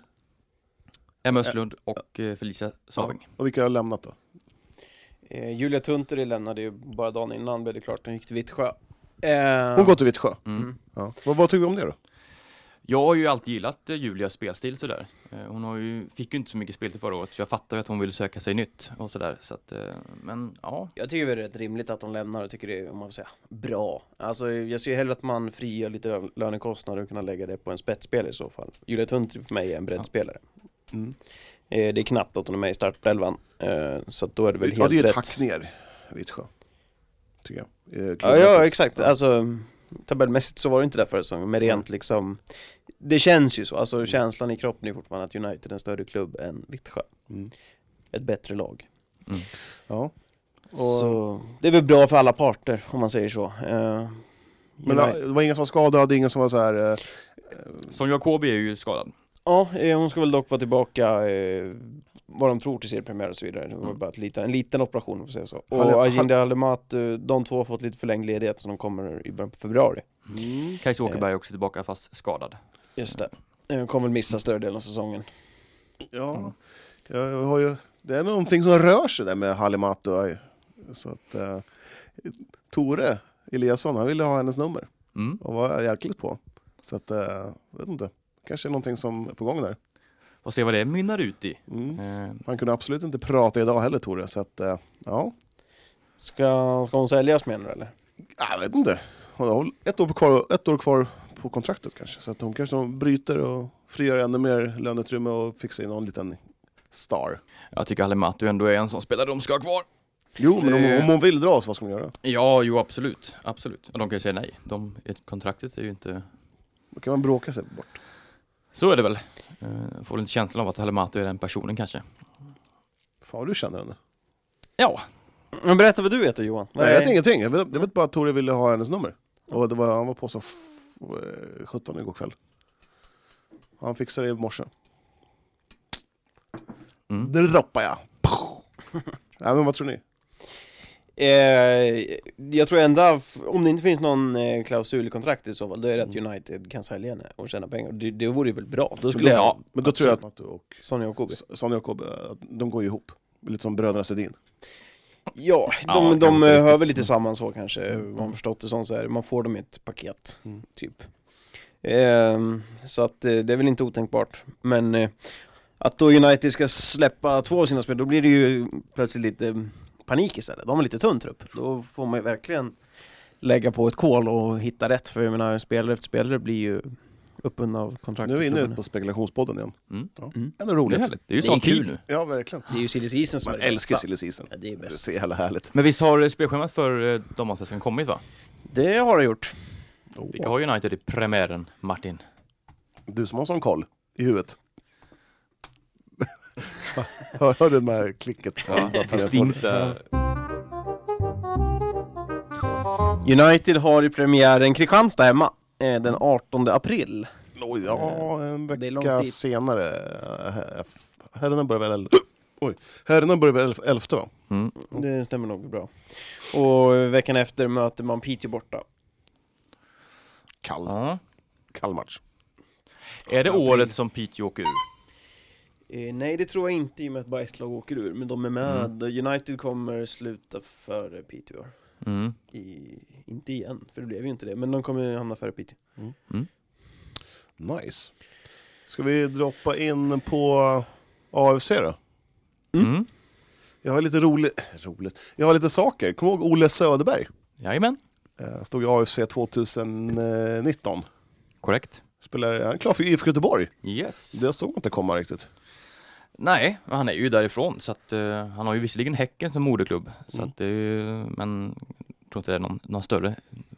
Speaker 2: Emma Östlund och eh, Felicia Saving.
Speaker 1: Och vilka har lämnat då?
Speaker 3: Eh, Julia Tunturi lämnade ju bara dagen innan blev det klart, hon gick till Vittsjö. Eh,
Speaker 1: Hon går till Vittsjö.
Speaker 2: Mm.
Speaker 1: Ja. Vad, vad tycker du om det då?
Speaker 2: Jag har ju alltid gillat eh, Julias spelstil sådär. Eh, Hon har ju, fick ju inte så mycket spel till förra året så jag fattar ju att hon vill söka sig nytt och sådär. Så att, eh, men ja,
Speaker 3: Jag tycker väl det är rätt rimligt att de lämnar och tycker det är, om man får säga, bra. Alltså jag ser ju hellre att man frigör lite lö- lönekostnader och kunna lägga det på en spetsspelare i så fall. Julia Tunturi för mig är en breddspelare.
Speaker 1: Mm.
Speaker 3: Eh, det är knappt att hon är med i startelvan, eh, så att då är det väl
Speaker 1: ja
Speaker 3: helt
Speaker 1: det är ett
Speaker 3: rätt.
Speaker 1: hack ner Vittsjö. Tycker jag. Eh,
Speaker 3: Ja, ja
Speaker 1: klubbmässigt.
Speaker 3: exakt, alltså tabellmässigt så var det inte där förra säsongen, men
Speaker 1: Mm.
Speaker 3: rent liksom Det känns ju så, alltså känslan i kroppen är fortfarande att United är en större klubb än Vittsjö
Speaker 1: Mm.
Speaker 3: Ett bättre lag
Speaker 1: Ja. Och,
Speaker 3: Så det är väl bra för alla parter om man säger så. Eh,
Speaker 1: men
Speaker 3: United-
Speaker 1: eh, det var ingen som var skadad, ingen som var så här... Eh,
Speaker 2: som Jacobi är ju skadad.
Speaker 3: Ja, eh, hon ska väl dock vara tillbaka eh, vad de tror till seriepremiär och så vidare. Det var
Speaker 2: Mm.
Speaker 3: bara ett liten, en liten operation om man säger så.
Speaker 1: Halle-
Speaker 3: Och Aginde Halimat, eh, de två har fått lite förlängd ledighet så de kommer i början på februari. Mm.
Speaker 2: Kajsa
Speaker 1: Eh.
Speaker 2: Åkerberg är också tillbaka fast skadad.
Speaker 3: Just det. Eh, Hon kommer väl missa större delen av säsongen. Mm.
Speaker 1: Ja, jag jag har ju, det är någonting som rör sig där med Halimatu. Ai. Så att, eh, Tore Eliasson, han ville ha hennes nummer
Speaker 2: Mm.
Speaker 1: och var jäkligt på. Så att, eh, vet inte, kanske är någonting som är på gång där.
Speaker 2: Och se vad det mynnar ut i.
Speaker 1: Mm.
Speaker 2: Eh,
Speaker 1: Han kunde absolut inte prata idag heller Tore, så att, eh, ja,
Speaker 3: Ska, ska hon säljas menar du eller?
Speaker 1: jag vet inte. Hon har väl ett år kvar, ett år kvar på kontraktet kanske, så att hon kanske bryter och frigör ännu mer löneutrymme och fixar in någon liten star.
Speaker 2: Jag tycker Halimatu ändå är en sån spelare de ska ha kvar.
Speaker 1: Jo, men om,
Speaker 2: Det-
Speaker 1: om hon vill dra så vad ska hon göra?
Speaker 2: Ja, jo absolut. Absolut. De kan ju säga nej. De, ett- kontraktet är ju inte...
Speaker 1: Då kan man bråka sig bort.
Speaker 2: Så är det väl. Eh, Får inte känslan av att Halimatu är den personen kanske.
Speaker 1: Fan vad du känner henne.
Speaker 2: Ja,
Speaker 3: Men berätta vad du vet då Johan.
Speaker 1: Nej, jag vet ingenting. Jag vet, jag vet bara att Tore ville ha hennes nummer. Och det var, han var på som f- eh, 17 igår kväll. Han fixade det i morse.
Speaker 2: Mm.
Speaker 1: droppar jag. Pow! <laughs> ja, men vad tror ni?
Speaker 3: Eh, jag tror enda, f- om det inte finns någon eh, klausul i kontraktet i så fall, då är det att United kan sälja henne och tjäna pengar. Det, det vore ju väl bra? Då skulle jag,
Speaker 1: Mm. ja, men då tror jag att du och
Speaker 3: Sonja och Kobe.
Speaker 1: Sonja och Kobe, eh, att de går ju ihop. Lite som bröderna Sedin.
Speaker 3: Ja,
Speaker 2: Ja,
Speaker 3: de,
Speaker 2: kanske
Speaker 3: de
Speaker 2: inte
Speaker 3: eh, hör
Speaker 2: riktigt.
Speaker 3: väl lite samman så kanske, vad man förstått det som så är det, man får dem i ett paket,
Speaker 1: Mm.
Speaker 3: typ. Ehm, så att eh, det är väl inte otänkbart, men eh, att då United ska släppa två av sina spel, då blir det ju plötsligt lite mm, panik istället. De har lite tunn trupp, då får man ju verkligen lägga på ett kol och hitta rätt, för jag menar spelare efter spelare blir ju uppbundna av kontrakt.
Speaker 1: Nu är vi
Speaker 3: med
Speaker 1: inne
Speaker 3: klubbarna.
Speaker 1: på spekulationspodden igen.
Speaker 2: Mm.
Speaker 1: Ja.
Speaker 3: Mm.
Speaker 1: Ändå
Speaker 2: Det är
Speaker 1: roligt.
Speaker 2: härligt. Det är ju
Speaker 3: Det
Speaker 2: sån
Speaker 3: är kul.
Speaker 2: tid nu.
Speaker 1: Ja, verkligen.
Speaker 3: Det är ju silly season som
Speaker 1: Man
Speaker 3: är det
Speaker 1: älskar
Speaker 3: bästa.
Speaker 1: silly season.
Speaker 3: Ja, det är
Speaker 1: Det är
Speaker 3: bäst.
Speaker 1: så jävla härligt.
Speaker 2: Men visst har eh, spelschemat för eh, damallsvenskan kommit va?
Speaker 3: Det har det gjort.
Speaker 2: Vilka har United i premiären, Martin?
Speaker 1: Du som har sån koll i huvudet. <laughs> hör, hör du det här klicket?
Speaker 2: Ja, distinkta...
Speaker 3: United har i premiären Kristianstad hemma eh, den 18 april.
Speaker 1: Oj, Ja, en
Speaker 3: Det är
Speaker 1: vecka
Speaker 3: långt dit.
Speaker 1: senare. eh, f- Herrarna börjar väl... elf- <clears throat> Oj, herrarna börjar väl elf- elfte va?
Speaker 2: Mm.
Speaker 3: Det stämmer nog bra. Och eh, veckan efter möter man Piteå borta.
Speaker 1: Kall,
Speaker 2: Ja.
Speaker 1: kall match.
Speaker 2: Är det året som Piteå åker ur?
Speaker 3: Eh, nej, det tror jag inte i och med att bara ett lag åker ur, men de är med. United kommer sluta före Piteå.
Speaker 2: Mm.
Speaker 3: I, inte igen, för det blev ju inte det, men de kommer hamna före Piteå.
Speaker 1: Nice. Ska vi droppa in på AFC då?
Speaker 2: Mm.
Speaker 1: Jag har lite roligt. <laughs> roligt. Jag har lite saker. Kom ihåg Ole Söderberg?
Speaker 2: Jajamän.
Speaker 1: Eh, Stod i AFC 2019.
Speaker 2: Korrekt.
Speaker 1: Spelar, han är klar för IFK Göteborg.
Speaker 2: Yes.
Speaker 1: Det såg man inte komma riktigt.
Speaker 2: Nej, men han är ju därifrån så att eh, han har ju visserligen Häcken som moderklubb. Så
Speaker 1: Mm.
Speaker 2: att det är ju, men jag tror inte det är någon, någon större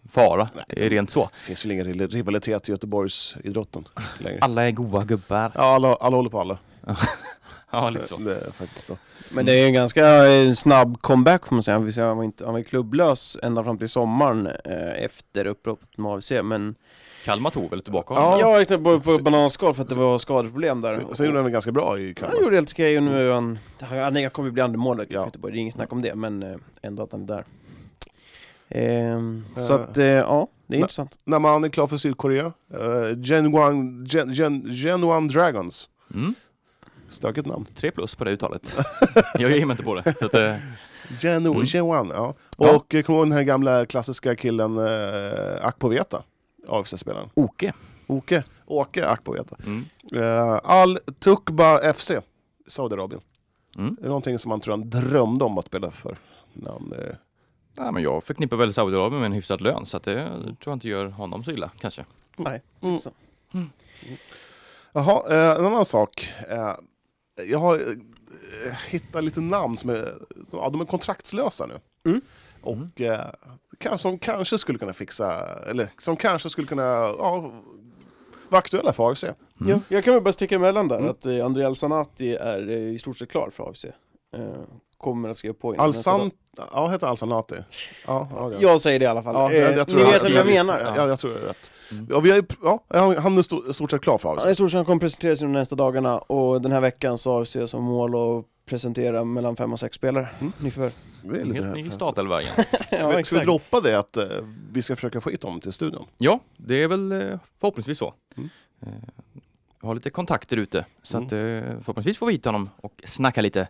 Speaker 2: fara eh, rent så.
Speaker 1: Det finns väl ingen ri- rivalitet i Göteborgsidrotten längre.
Speaker 2: Alla är goa gubbar.
Speaker 1: Ja, alla, alla håller på alla.
Speaker 2: Ja, lite så.
Speaker 1: Det är faktiskt så.
Speaker 3: Men det är ju en ganska eh, snabb comeback får man säga. Han vill säga, Han var, inte, han var ju klubblös ända fram till sommaren eh, efter uppropet med AFC, men...
Speaker 2: Kalmar tog väl tillbaka
Speaker 1: Ja.
Speaker 2: honom?
Speaker 3: Ja, just det, på, på bananskal för att det var skadeproblem där.
Speaker 1: Sen, sen gjorde han det ganska bra i
Speaker 3: Han
Speaker 1: Kalmar.
Speaker 3: gjorde helt okej och nu är han, han han kommer ju bli andremålare
Speaker 1: Ja.
Speaker 3: ja. Göteborg, det är inget snack om det, men eh, ändå att han är där. Ehm, så
Speaker 1: Eh.
Speaker 3: att, eh, ja, det är
Speaker 1: Nej.
Speaker 3: intressant.
Speaker 1: När man är klar för Sydkorea. Uh, Genuan, Gen, Gen, Genuan Dragons.
Speaker 2: Mm.
Speaker 1: Stökigt namn.
Speaker 2: Tre plus på
Speaker 1: <laughs>
Speaker 2: det uttalet. jag ger mig inte på det. Så att, eh,
Speaker 1: Genu,
Speaker 2: Mm.
Speaker 1: Genuan, ja.
Speaker 2: Ja.
Speaker 1: Och eh, kommer du ihåg den här gamla klassiska killen uh, Akpoveta? AFC-spelaren.
Speaker 2: Oke.
Speaker 1: Åke, Åke Akpoveta.
Speaker 2: Mm.
Speaker 1: Eh, Al Tukba FC, Saudiarabien.
Speaker 2: Mm.
Speaker 1: Det är någonting som man tror han drömde om att spela för. När han, eh,
Speaker 2: Nej, men jag förknippar väl Saudiarabien med en hyfsad lön så att det tror jag inte gör honom så illa kanske.
Speaker 3: Nej,
Speaker 1: Mm.
Speaker 3: så.
Speaker 1: Jaha, eh, en annan sak. Eh, jag har eh, hittat lite namn som är, ja, de är kontraktslösa nu.
Speaker 3: Mm.
Speaker 1: Och eh, kan- som kanske skulle kunna fixa, eller som kanske skulle kunna ja, vara aktuella för AFC.
Speaker 3: Ja, jag kan väl bara sticka emellan där
Speaker 1: Mm.
Speaker 3: att eh, André Alsanati är eh, i stort sett klar för AFC. Eh, kommer att skriva på innan nästa
Speaker 1: Alsan,
Speaker 3: dag.
Speaker 1: ja heter Alsanati. Ja, ja, det.
Speaker 3: Jag säger det i alla fall.
Speaker 1: Ja,
Speaker 3: Eh,
Speaker 1: jag, jag tror
Speaker 3: ni
Speaker 1: jag-
Speaker 3: vet vad jag menar.
Speaker 1: Ja,
Speaker 3: Ja. Mm.
Speaker 1: jag tror det är rätt. Ja, vi har ju, ja, han han är sto- stort sett klar för AFC.
Speaker 3: I stort sett han kommer presenteras under de nästa dagarna och den här veckan så har AFC som mål att presentera mellan fem och sex spelare,
Speaker 1: Mm.
Speaker 3: nyförvärv.
Speaker 1: Det är lite
Speaker 2: Helt ny startelva igen.
Speaker 1: Ska, vi, ska vi droppa det att eh, vi ska försöka få hit dem till studion?
Speaker 2: Ja, det är väl eh, förhoppningsvis så.
Speaker 1: Mm.
Speaker 2: Eh, Jag har lite kontakter ute så
Speaker 1: Mm.
Speaker 2: att, eh, förhoppningsvis får vi hit honom och snacka lite.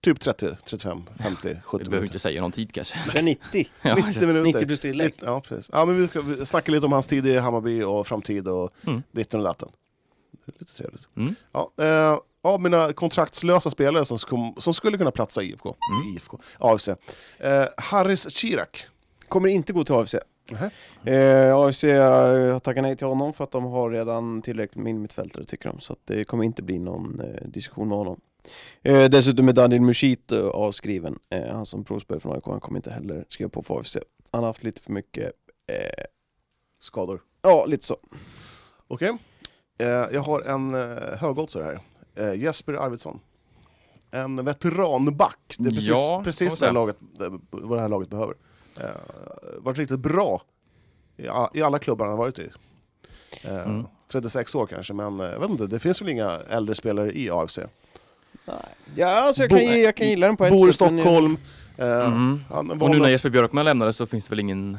Speaker 1: Typ 30, 35, 50, 70
Speaker 2: Vi behöver
Speaker 1: minuter.
Speaker 2: inte säga någon tid kanske.
Speaker 3: 90.
Speaker 2: Ja,
Speaker 1: <laughs> 90 minuter.
Speaker 3: 90 plus tillägg.
Speaker 1: Lite- Ja, precis. Ja, men vi ska vi snacka lite om hans tid i Hammarby och framtid och
Speaker 2: Mm.
Speaker 1: ditten och datten. Det är Lite trevligt.
Speaker 2: Mm.
Speaker 1: Ja, eh, av mina kontraktslösa spelare som, skum, som skulle kunna platsa i IFK,
Speaker 2: Mm.
Speaker 1: IFK AFC, eh, Harris Chirac.
Speaker 3: Kommer inte gå till AFC.
Speaker 1: Nähä.
Speaker 3: Eh, AFC har tackat nej till honom för att de har redan tillräckligt med innermittfältare tycker de, så att det kommer inte bli någon eh, diskussion med honom. Eh, dessutom är Daniel Mushito avskriven, eh, han som provspelare från AIK, han kommer inte heller skriva på för AFC. Han har haft lite för mycket, eh,
Speaker 1: Skador.
Speaker 3: ja lite så.
Speaker 1: Okej. Eh, jag har en eh, högoddsare här. Eh, Jesper Arvidsson. En veteranback. Det är precis,
Speaker 2: Ja, kan man
Speaker 1: precis det
Speaker 2: säga.
Speaker 1: här laget, eh, vad det här laget behöver. Eh, varit riktigt bra i, a- i alla klubbar han har varit i. Eh,
Speaker 2: Mm.
Speaker 1: 36 år kanske, men eh, jag vet inte, det finns väl inga äldre spelare i AFC?
Speaker 3: Ja, alltså jag kan,
Speaker 1: Bo-
Speaker 3: ju- jag kan gilla den på ett
Speaker 1: Bor i
Speaker 3: sätt, men-
Speaker 1: Stockholm. Eh,
Speaker 2: Mhm.
Speaker 1: han
Speaker 2: Och nu
Speaker 1: valde-
Speaker 2: när Jesper Björkman lämnar det så finns det väl ingen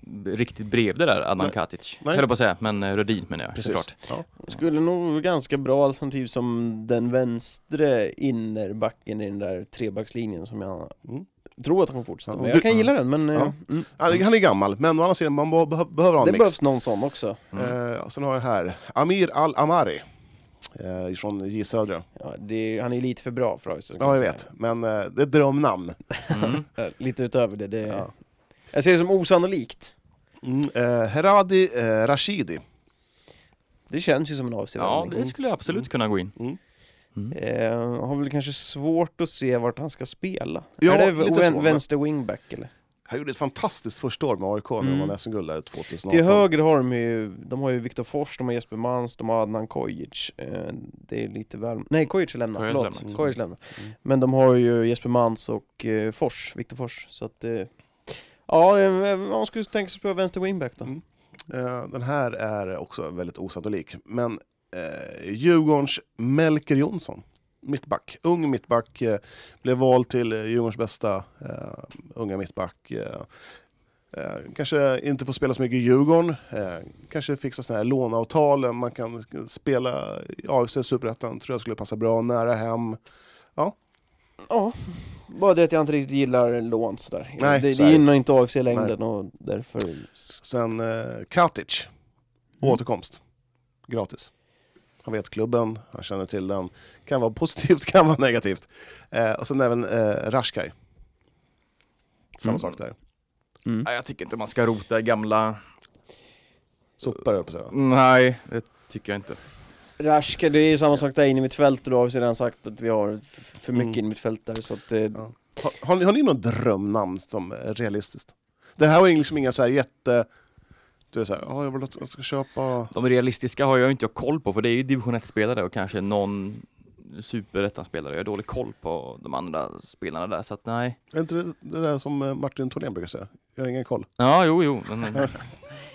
Speaker 2: b- riktigt brev det där Adnan
Speaker 1: Nej.
Speaker 2: Katic.
Speaker 1: Nej.
Speaker 2: Höll jag på att säga, men eh, Rödin menar jag
Speaker 1: Precis. <laughs>
Speaker 2: såklart.
Speaker 1: Ja.
Speaker 3: Skulle nog vara ganska bra alternativ som den vänstre innerbacken i den där trebackslinjen som jag
Speaker 1: Mm.
Speaker 3: tror att han kommer fortsätta
Speaker 1: Ja,
Speaker 3: med.
Speaker 1: du-
Speaker 3: Jag kan gilla den men eh,
Speaker 1: Ja.
Speaker 3: mm,
Speaker 1: Han är- han är gammal, men å andra sidan, man be- beh- behöver ha en
Speaker 3: det
Speaker 1: mix.
Speaker 3: behövs någon sån också. Mm.
Speaker 1: Eh, sen har jag här Amir Al-Amari. Eh, från J Södra.
Speaker 3: Ja, det, han är lite för bra för oss.
Speaker 1: Ja, jag vet. Men eh, det är ett drömnamn.
Speaker 2: Mm.
Speaker 3: Eh, Lite utöver det. det
Speaker 1: Ja.
Speaker 3: Jag ser det som osannolikt.
Speaker 1: Mm, eh, Heradi eh, Rashidi.
Speaker 3: Det känns ju som en avsevärd
Speaker 2: Ja,
Speaker 3: ändring.
Speaker 2: det skulle jag
Speaker 1: Mm.
Speaker 2: absolut kunna gå in. Mm.
Speaker 3: Eh, har väl kanske svårt att se vart han ska spela.
Speaker 1: Ja,
Speaker 3: är det
Speaker 1: lite så,
Speaker 3: vän-
Speaker 1: men-
Speaker 3: vänster wingback eller?
Speaker 1: Han gjorde ett fantastiskt första år med AIK när
Speaker 3: Mm.
Speaker 1: de vann SM-guld där 2018.
Speaker 3: Till höger har de ju, de har ju Viktor Fors, de har Jesper Mans, de har Adnan Kojic. Eh, det är lite väl... Nej, Kojic är lämnad,
Speaker 2: Kojic
Speaker 3: förlåt.
Speaker 2: lämnat.
Speaker 3: Kojic lämnat.
Speaker 1: Mm.
Speaker 3: Men de har ju Jesper Mans och eh, Fors, Viktor Fors. Så att, eh, ja, eh, man skulle tänka sig att spela vänster wingback då.
Speaker 1: Mm. Eh, den här är också väldigt osannolik. Men eh, Djurgårdens Melker Jonsson, mittback. Ung mittback. Eh, blev vald till eh, Djurgårdens bästa eh, unga mittback. Eh, eh, kanske inte får spela så mycket i Djurgården. Eh, kanske fixa sådana här låneavtal. eh, Man kan spela i AFC Superettan. Tror jag skulle passa bra. Nära hem.
Speaker 3: Ja, bara det att jag inte riktigt gillar lån sådär.
Speaker 1: Nej,
Speaker 3: det,
Speaker 1: så
Speaker 3: det
Speaker 1: är det.
Speaker 3: gynnar inte AFC i längden och därför...
Speaker 1: Sen eh, Katic.
Speaker 3: Mm.
Speaker 1: Återkomst. Gratis. Han vet klubben, han känner till den. Kan vara positivt, <laughs> kan vara negativt. Eh, och sen även eh, Rashkai. Samma
Speaker 3: Mm.
Speaker 1: sak där. Mm.
Speaker 2: Nej, jag tycker inte man ska rota i gamla...
Speaker 1: Sopar höll jag på att säga.
Speaker 2: Nej, det tycker jag inte.
Speaker 3: Rask, det är ju samma sak där inne i mitt fält och då har vi redan sagt att vi har f- för mycket
Speaker 1: Mm.
Speaker 3: in i mitt fält där så att eh,
Speaker 1: Ja. Har, har, ni, har ni något drömnamn som är realistiskt? Det här var ju liksom inga så här jätte... Du är så här, "Ja, jag vill att jag ska köpa...
Speaker 2: De realistiska har jag ju inte koll på för det är ju division 1-spelare och kanske någon superettan-spelare. Jag har dålig koll på de andra spelarna där så att nej.
Speaker 1: Är inte det det där som eh, Martin Thorén brukar säga? Jag har ingen koll.
Speaker 2: Ja, jo, jo.
Speaker 1: <laughs>
Speaker 2: Men,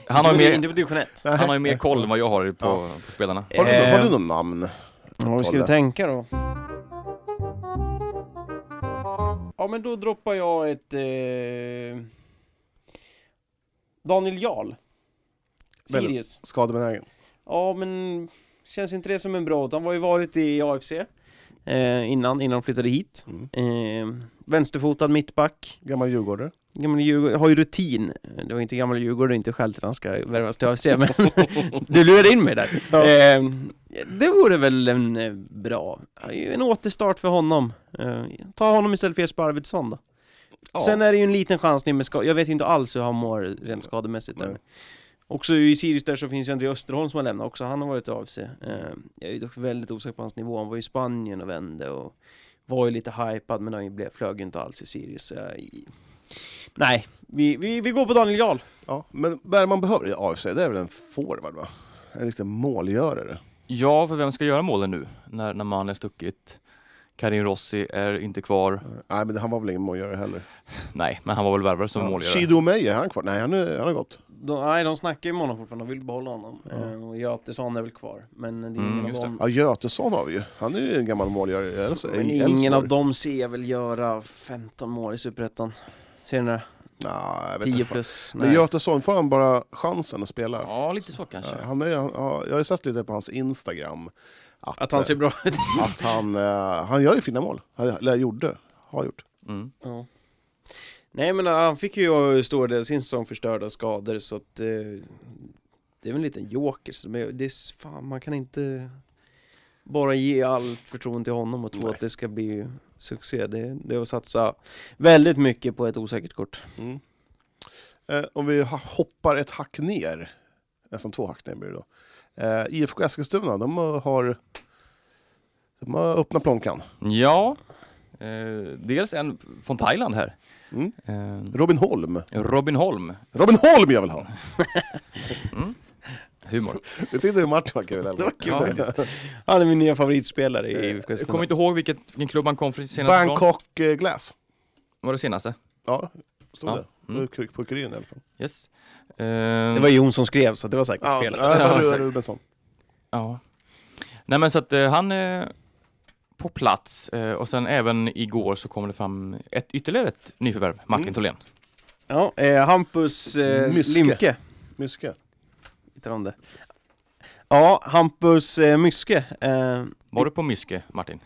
Speaker 2: han, har ju mer,
Speaker 3: på division 1.
Speaker 2: han har ju mer koll än vad jag har på, på spelarna.
Speaker 1: Har du,
Speaker 3: Eh.
Speaker 1: har du något namn?
Speaker 3: Ja, hur ska vi
Speaker 1: Tolv.
Speaker 3: tänka då? Ja, men då droppar jag ett... Eh... Daniel Jarl.
Speaker 1: Väldigt.
Speaker 3: Sirius.
Speaker 1: Skadebenägen.
Speaker 3: Ja, men känns inte det som en bra... Han har ju varit i AFC eh, innan, innan de flyttade hit.
Speaker 1: Mm.
Speaker 3: Eh, vänsterfotad mittback.
Speaker 1: Gammal djurgårdare.
Speaker 3: Gammal Djurgården, har ju rutin. Det var inte gammal Djurgården, inte skäl till att han ska värvas till
Speaker 1: <laughs>
Speaker 3: AFC, men du lurade in mig där. Eh, det vore väl en eh, bra, en återstart för honom. Eh, ta honom istället för Jesper Arvidsson då.
Speaker 1: Ja.
Speaker 3: Sen är det ju en liten chansning med skada, jag vet inte alls hur han mår rent skademässigt.
Speaker 1: Nej.
Speaker 3: än. Också i Sirius där så finns ju André Österholm som har lämnat också, han har varit av sig. Eh, jag är ju dock väldigt osäker på hans nivå, han var ju i Spanien och vände och var ju lite hypad men han blev, flög ju inte alls i Sirius. så jag- Nej, vi, vi, vi går på Daniel Jarl.
Speaker 1: Ja, men vad är det man behöver i AFC? Det är väl en forward va? En riktig målgörare.
Speaker 2: Ja, för vem ska göra målen nu? När, när man är stuckit. Karin Rossi är inte kvar.
Speaker 1: Nej, men han var väl ingen målgörare heller.
Speaker 2: Nej, men han var väl värvare som
Speaker 1: Ja.
Speaker 2: målgörare.
Speaker 1: Shido Omeya, är han kvar? Nej, han, är, han har gått.
Speaker 3: De, nej, de snackar ju med honom fortfarande, de vill behålla honom. Eh, och Götesson är väl kvar, men det är
Speaker 2: Mm,
Speaker 3: ingen av
Speaker 2: just det.
Speaker 3: dem.
Speaker 1: Ja, Götesson har vi ju. Han är ju en gammal målgörare. i Elfs-
Speaker 3: Men
Speaker 1: i
Speaker 3: ingen
Speaker 1: Elfsborg.
Speaker 3: av dem ser jag väl göra 15 mål i Superettan. Ser ni det?
Speaker 1: Nej, jag vet
Speaker 3: 10
Speaker 1: inte. fan.
Speaker 3: plus.
Speaker 1: Men Götesson, får han bara chansen att spela?
Speaker 2: Ja, lite så kanske.
Speaker 1: Eh, Han är, han, ja, jag har ju sett lite på hans Instagram att,
Speaker 3: Att han ser
Speaker 1: eh,
Speaker 3: bra ut.
Speaker 1: att han, eh, han gör ju fina mål. Han, eller gjorde. Har gjort.
Speaker 2: Mm.
Speaker 3: Ja. Nej men han fick ju eh, stor del av sin säsong förstörd av skador så att eh, Det är väl en liten joker så men det är, s- fan man kan inte Bara ge allt förtroende till honom och tro
Speaker 1: Nej.
Speaker 3: att det ska bli succé det, det är att satsa väldigt mycket på ett osäkert kort
Speaker 1: Mm. Eh, om vi ha- hoppar ett hack ner, nästan två hack ner blir det då. Eh, IFK Eskilstuna, de har, de har öppnat plånkan.
Speaker 2: Ja, eh, dels en från Thailand här.
Speaker 1: Mm.
Speaker 2: Eh,
Speaker 1: Robin Holm.
Speaker 2: Robin Holm,
Speaker 1: Robin Holm jag vill ha!
Speaker 2: humor.
Speaker 1: Det tyckte ju Martin var kul. eller?
Speaker 2: Ja, faktiskt.
Speaker 3: Han är min nya favoritspelare i IFK
Speaker 2: jag
Speaker 3: Eskilstuna.
Speaker 2: kommer inte ihåg vilket, vilken klubb han kom från senast. ifrån.
Speaker 1: Bangkok eh, Glass.
Speaker 2: Var det senaste?
Speaker 1: Ja, stod
Speaker 2: Ja.
Speaker 1: det.
Speaker 2: Mm.
Speaker 1: Mm. På kuriren i alla fall.
Speaker 2: Yes. Eh,
Speaker 3: Det var Jon som skrev så det var säkert
Speaker 1: Ja,
Speaker 3: fel
Speaker 1: ja,
Speaker 2: Ja,
Speaker 1: Ru-
Speaker 2: exakt.
Speaker 1: Rubensson.
Speaker 2: Ja. Nej men så att eh, han... Eh, på på plats eh, och sen även igår så kom det fram ett, ytterligare ett nyförvärv, Martin
Speaker 1: Mm.
Speaker 2: Tholén.
Speaker 3: Ja, eh, Hampus eh,
Speaker 1: Myske.
Speaker 3: Limke
Speaker 1: Myske.
Speaker 3: heter han det. Ja, Hampus eh, Myske. Eh,
Speaker 2: Var du på Myske, Martin?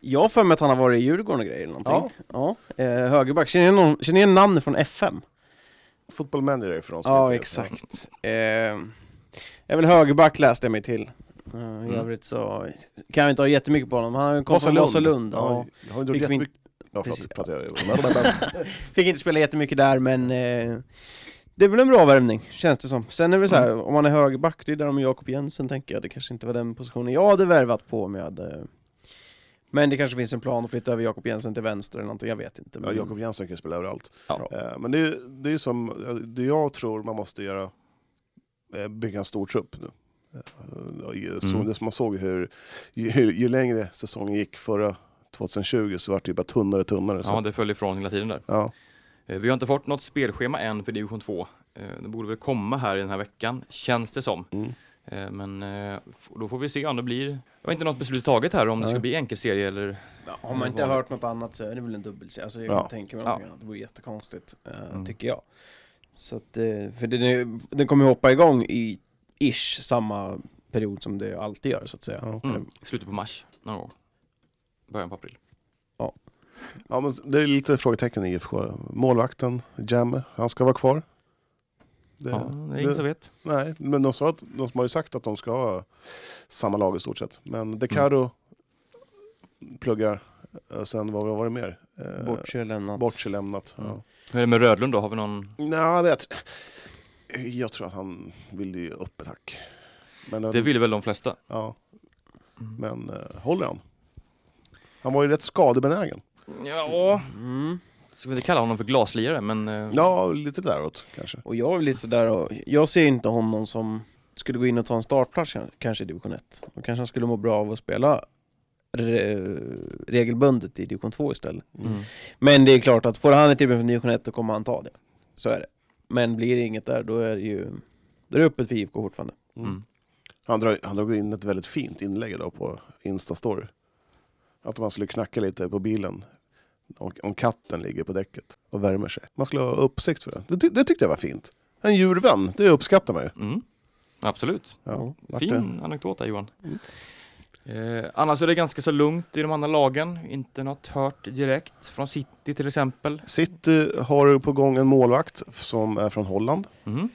Speaker 3: jag har för mig att han har varit i Djurgården och grejer eller någonting. Ja. eh, högerback. Känner ni någon- känner ni igen namnet från FM?
Speaker 1: Football manager för de som
Speaker 3: Ja,
Speaker 1: inte vet.
Speaker 3: exakt. Eh, även högerback läste jag mig till. Eh, I
Speaker 2: Mm.
Speaker 3: övrigt så kan jag inte ha jättemycket på honom. Han kom från
Speaker 1: Vasalund.
Speaker 3: Vasalund.
Speaker 1: Ja,
Speaker 3: Ja.
Speaker 1: jag har inte gjort
Speaker 3: Fick vi
Speaker 1: jättemycket... Ja,
Speaker 3: Precis.
Speaker 1: förlåt, pratar jag...
Speaker 3: Fick inte spela jättemycket där, men eh, det är väl en bra värvning, känns det som. Sen är det väl så här, om man är högerback, det är där de Jakob Jensen tänker jag. Det kanske inte var den positionen jag hade värvat på om jag hade... Men det kanske finns en plan att flytta över Jakob Jensen till vänster eller någonting, jag vet inte.
Speaker 1: Ja,
Speaker 3: Men...
Speaker 1: Jakob Jensen kan ju spela överallt.
Speaker 2: Ja.
Speaker 1: Eh, Men det är ju det är ju som, eh, det jag tror man måste göra, eh, bygga en stor trupp nu. Eh, och i- Så,
Speaker 2: Mm.
Speaker 1: det som Man såg hur, ju, ju längre säsongen gick förra 2020 så var det ju bara tunnare och tunnare. Så.
Speaker 2: Ja, det föll ifrån hela tiden där.
Speaker 1: ja.
Speaker 2: Eh, Vi har inte fått något spelschema än för division 2. Eh, Det borde väl komma här i den här veckan, känns det som.
Speaker 1: Mm.
Speaker 2: Eh, Men eh, f- då får vi se om det blir... Det var inte något beslut taget här om det
Speaker 1: Nej.
Speaker 2: ska bli enkelserie eller...
Speaker 3: Ja, Har man inte hört något annat så är det väl en dubbelserie. Alltså, jag
Speaker 1: Ja.
Speaker 3: tänker mig
Speaker 2: Ja.
Speaker 3: någonting annat. Det vore jättekonstigt, eh,
Speaker 2: Mm.
Speaker 3: tycker jag. Så att, eh, för den, är- den kommer ju hoppa igång i ish samma period som det alltid gör, så att säga.
Speaker 1: Ja.
Speaker 2: Mm, slutet på mars någon gång. Början på april.
Speaker 1: Ja, men det är lite frågetecken i IFK. Målvakten, Jamme, han ska vara kvar. Det,
Speaker 2: Ja, det är ingen som vet.
Speaker 1: Nej, men de, sa att, de som har ju sagt att de ska ha samma lag i stort sett. Men De Caro
Speaker 2: Mm.
Speaker 1: pluggar, och sen vad var det mer? Eh,
Speaker 3: Bortse lämnat.
Speaker 1: Bortse lämnat.
Speaker 2: Mm.
Speaker 1: Ja.
Speaker 2: Hur är det med Rödlund då? Har vi någon...
Speaker 1: Nej, jag vet. Jag tror att han ville ju upp ett hack. Men,
Speaker 2: Det Mm. vill väl de flesta?
Speaker 1: ja, men eh, håller han? Han var ju rätt skadebenägen.
Speaker 2: Ja,
Speaker 3: Mm.
Speaker 2: ska vi inte kalla honom för glaslirare men... eh,
Speaker 1: Ja, lite däråt kanske.
Speaker 3: Och jag är väl lite sådär, och, jag ser inte honom som skulle gå in och ta en startplats kan- kanske i division 1. Då kanske han skulle må bra av att spela re, regelbundet i division 2 istället.
Speaker 2: Mm.
Speaker 3: Men det är klart att får han ett tillbud från division 1 då kommer han ta det. Så är det. Men blir det inget där då är det ju då är det öppet för IFK fortfarande.
Speaker 2: Mm.
Speaker 1: Han drog, han drog in ett väldigt fint inlägg idag på Instastory. Att man skulle knacka lite på bilen om, om katten ligger på däcket och värmer sig. Man skulle ha uppsikt för det. Det, ty, det tyckte jag var fint. En djurvän, det uppskattar man ju.
Speaker 2: Mm. Absolut.
Speaker 1: Ja, vart det-
Speaker 2: Mm. Fin anekdot där Johan. Eh, annars är det ganska så lugnt i de andra lagen. Inte något hört direkt från City till exempel.
Speaker 1: City har på gång en målvakt som är från Holland.
Speaker 2: Mhm.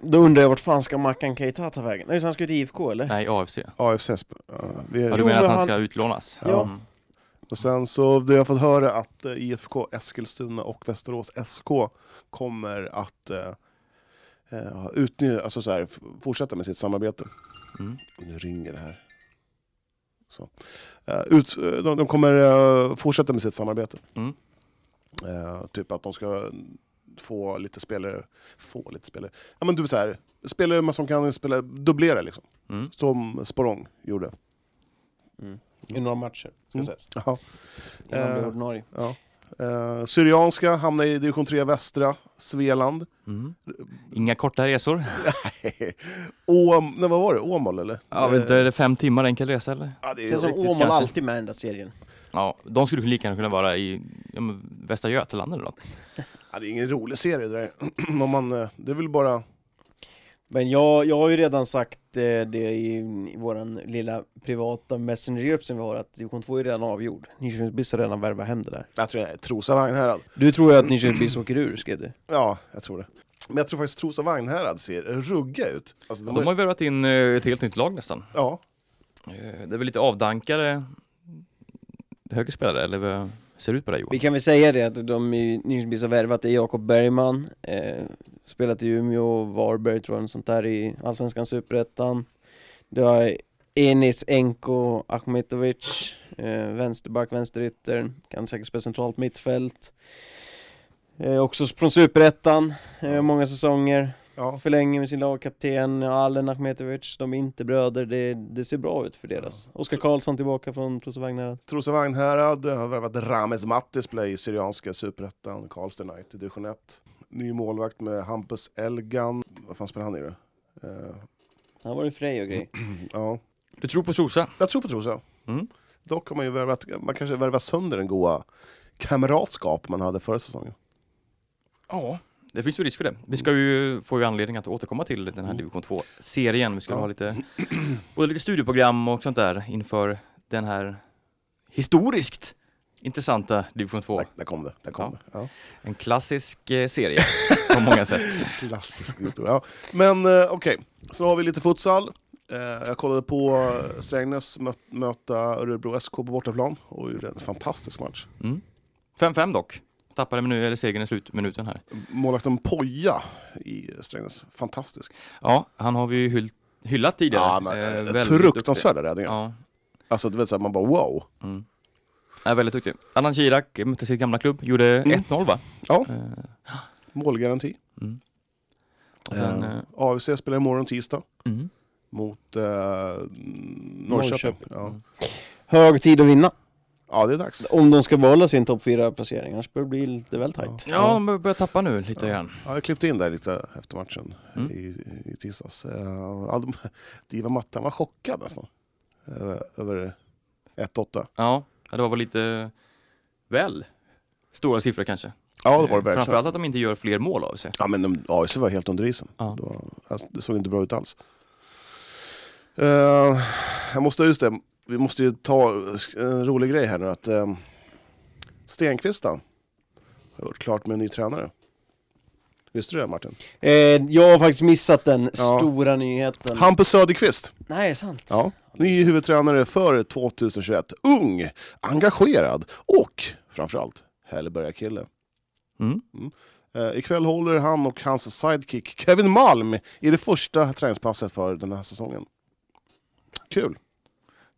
Speaker 3: Då undrar jag vart fan ska Mackan Keita ta vägen? Nej, så han ska ju till IFK eller?
Speaker 2: Nej, AFC.
Speaker 1: AFC. sp- ja, eh, vi
Speaker 2: Ja,
Speaker 1: är,
Speaker 2: du
Speaker 3: Jo,
Speaker 2: menar att
Speaker 3: men
Speaker 2: han
Speaker 3: han-
Speaker 2: ska utlånas?
Speaker 1: Ja.
Speaker 2: Mm.
Speaker 1: och sen så det har jag fått höra att eh, IFK Eskilstuna och Västerås SK kommer att eh, eh, utnyttja, alltså så här, f- fortsätta med sitt samarbete.
Speaker 2: Mm.
Speaker 1: Nu ringer det här. Så. Eh, ut, eh, de, de kommer eh, fortsätta med sitt samarbete.
Speaker 2: Mm.
Speaker 1: Eh, typ att de ska få lite spelare, få lite spelare, ja men typ så här, spelare som kan spela, dubblera liksom.
Speaker 2: Mm.
Speaker 1: Som Sporrong gjorde.
Speaker 3: I några matcher, ska
Speaker 1: Mm.
Speaker 3: sägas.
Speaker 1: Ja.
Speaker 3: Innan han blir
Speaker 1: Eh.
Speaker 3: ordinarie.
Speaker 1: Ja. Eh, Syrianska hamnar i division 3 västra, Svealand. <laughs>
Speaker 2: Mm. Inga korta resor.
Speaker 1: Åm, nej, vad var det? Åmål eller?
Speaker 2: Ja, vet inte,
Speaker 1: Eh,
Speaker 2: är det fem timmar enkel resa eller?
Speaker 1: ja, det
Speaker 3: Det
Speaker 1: är
Speaker 3: känns som
Speaker 1: riktigt-
Speaker 3: Åmål
Speaker 2: kanske.
Speaker 3: alltid med i den där serien.
Speaker 2: Ja, de skulle lika gärna kunna vara i ja, men, Västra Götaland eller något.
Speaker 1: ja, det är ingen rolig serie det där. <clears throat> Om man, eh, det är väl bara...
Speaker 3: Men jag, jag har ju redan sagt eh, det i, i våran lilla privata messengergrupp som vi har att division 2 är redan avgjord. Nyköpings BIS har redan värvat hem det där.
Speaker 1: Jag tror det är Trosa Vagnhärad.
Speaker 3: Du tror ju att Nyköpings BIS åker ur, skrev du.
Speaker 1: Ja, jag tror det. Men jag tror faktiskt Trosa Vagnhärad ser rugga ut. Alltså, de
Speaker 2: De har
Speaker 1: är,
Speaker 2: ju värvat in eh, ett helt nytt lag nästan.
Speaker 1: ja,
Speaker 2: Eh, Det är väl lite avdankade högre spelare, eller vad ser det ut på det Johan?
Speaker 3: Vi kan väl säga det att de i Nyköpings BIS har värvat är Jakob Bergman, eh, spelat i Umeå, Varberg tror jag, något sånt där i Allsvenskan, Superettan. Du har Enis Enko Akhmetovic, eh, vänsterback, vänsterytter, kan säkert spela centralt mittfält. Eh, också från Superettan, eh, många säsonger.
Speaker 1: ja.
Speaker 3: Förlänger med sin lagkapten Allen Akhmetovic, de är inte bröder, det, det ser bra ut för deras. Oskar Karlsson tillbaka från Trosa Vagnhärad.
Speaker 1: Trosa Vagnhärad har värvat Rames Matti, spelar i Syrianska Superettan, Karlstad United, division 1. Ny målvakt med Hampus Elgan. Vad fan spelar han i då? Eh,
Speaker 3: Han var i Frej och grej.
Speaker 1: ja.
Speaker 2: Du tror på Trosa?
Speaker 1: Jag tror på Trosa.
Speaker 2: Mm.
Speaker 1: Dock har man ju värvat, man kanske värvat sönder den goa kamratskap man hade förra säsongen.
Speaker 2: Ja, det finns ju risk för det. Vi ska ju få ju anledning att återkomma till den här division 2-serien. Vi ska
Speaker 1: Ja.
Speaker 2: ha lite, både lite studieprogram och sånt där inför den här historiskt intressanta division 2.
Speaker 1: Där, där kom det. Där kom
Speaker 2: Ja.
Speaker 1: det. Ja.
Speaker 2: En klassisk eh, serie på många sätt.
Speaker 1: Klassisk historia. Ja. Men eh, okej, så har vi lite futsal. Eh, jag kollade på eh, Strängnäs mö- möta Örebro SK på bortaplan och gjorde en fantastisk match.
Speaker 2: Mm. 5-5 dock. Tappade minu- eller segern i slutminuten här.
Speaker 1: Målvakten Poja i Strängnäs, fantastisk.
Speaker 2: Ja, han har vi ju hyll, hyllat tidigare.
Speaker 1: Ja, men,
Speaker 2: Eh,
Speaker 1: eh,
Speaker 2: väldigt
Speaker 1: fruktansvärda
Speaker 2: duktig.
Speaker 1: räddningar.
Speaker 2: Ja,
Speaker 1: Alltså du vet såhär, man bara wow.
Speaker 2: mm. är väldigt duktig. Allan Kirak mötte sin gamla klubb, gjorde
Speaker 1: Mm.
Speaker 2: 1-0 va?
Speaker 1: Ja.
Speaker 2: Eh,
Speaker 1: Målgaranti.
Speaker 2: Mm. och sen,
Speaker 1: Eh,
Speaker 2: eh,
Speaker 1: AFC spelar imorgon tisdag
Speaker 2: mm.
Speaker 1: mot eh, Norrköping.
Speaker 3: Norrköping.
Speaker 1: Ja.
Speaker 2: Mm.
Speaker 3: Hög tid att vinna.
Speaker 1: ja, det är dags.
Speaker 3: Om de ska behålla sin topp 4-placering, annars börjar det bli lite väl tajt.
Speaker 2: Ja, de bör- börjar tappa nu lite grann.
Speaker 1: Ja, jag klippte in där lite efter matchen
Speaker 2: Mm.
Speaker 1: i, i tisdags. Eh, Ja, de, <laughs> Diva Mattan var chockad nästan. Över, över 1-8.
Speaker 2: Ja, ja, det var väl lite väl stora siffror kanske.
Speaker 1: Ja, det var det
Speaker 2: Eh,
Speaker 1: verkligen.
Speaker 2: Framförallt att de inte gör fler mål av sig.
Speaker 1: Ja, men de- AIC var helt under isen.
Speaker 2: Ja.
Speaker 1: Det, var, alltså, det såg inte bra ut alls. Eh, jag måste, just det, vi måste ju ta en rolig grej här nu. Att, uh, Stenqvist då, har gjort klart med en ny tränare. Visste du det Martin?
Speaker 3: Eh, jag har faktiskt missat den
Speaker 1: Ja.
Speaker 3: stora nyheten.
Speaker 1: Hampus Söderqvist.
Speaker 3: Nej, är det sant?
Speaker 1: Ja. Ny huvudtränare för 2021. Ung, engagerad och framförallt Hällebergakille.
Speaker 2: Mm.
Speaker 1: Eh, ikväll håller han och hans sidekick Kevin Malm i det första träningspasset för den här säsongen. Kul.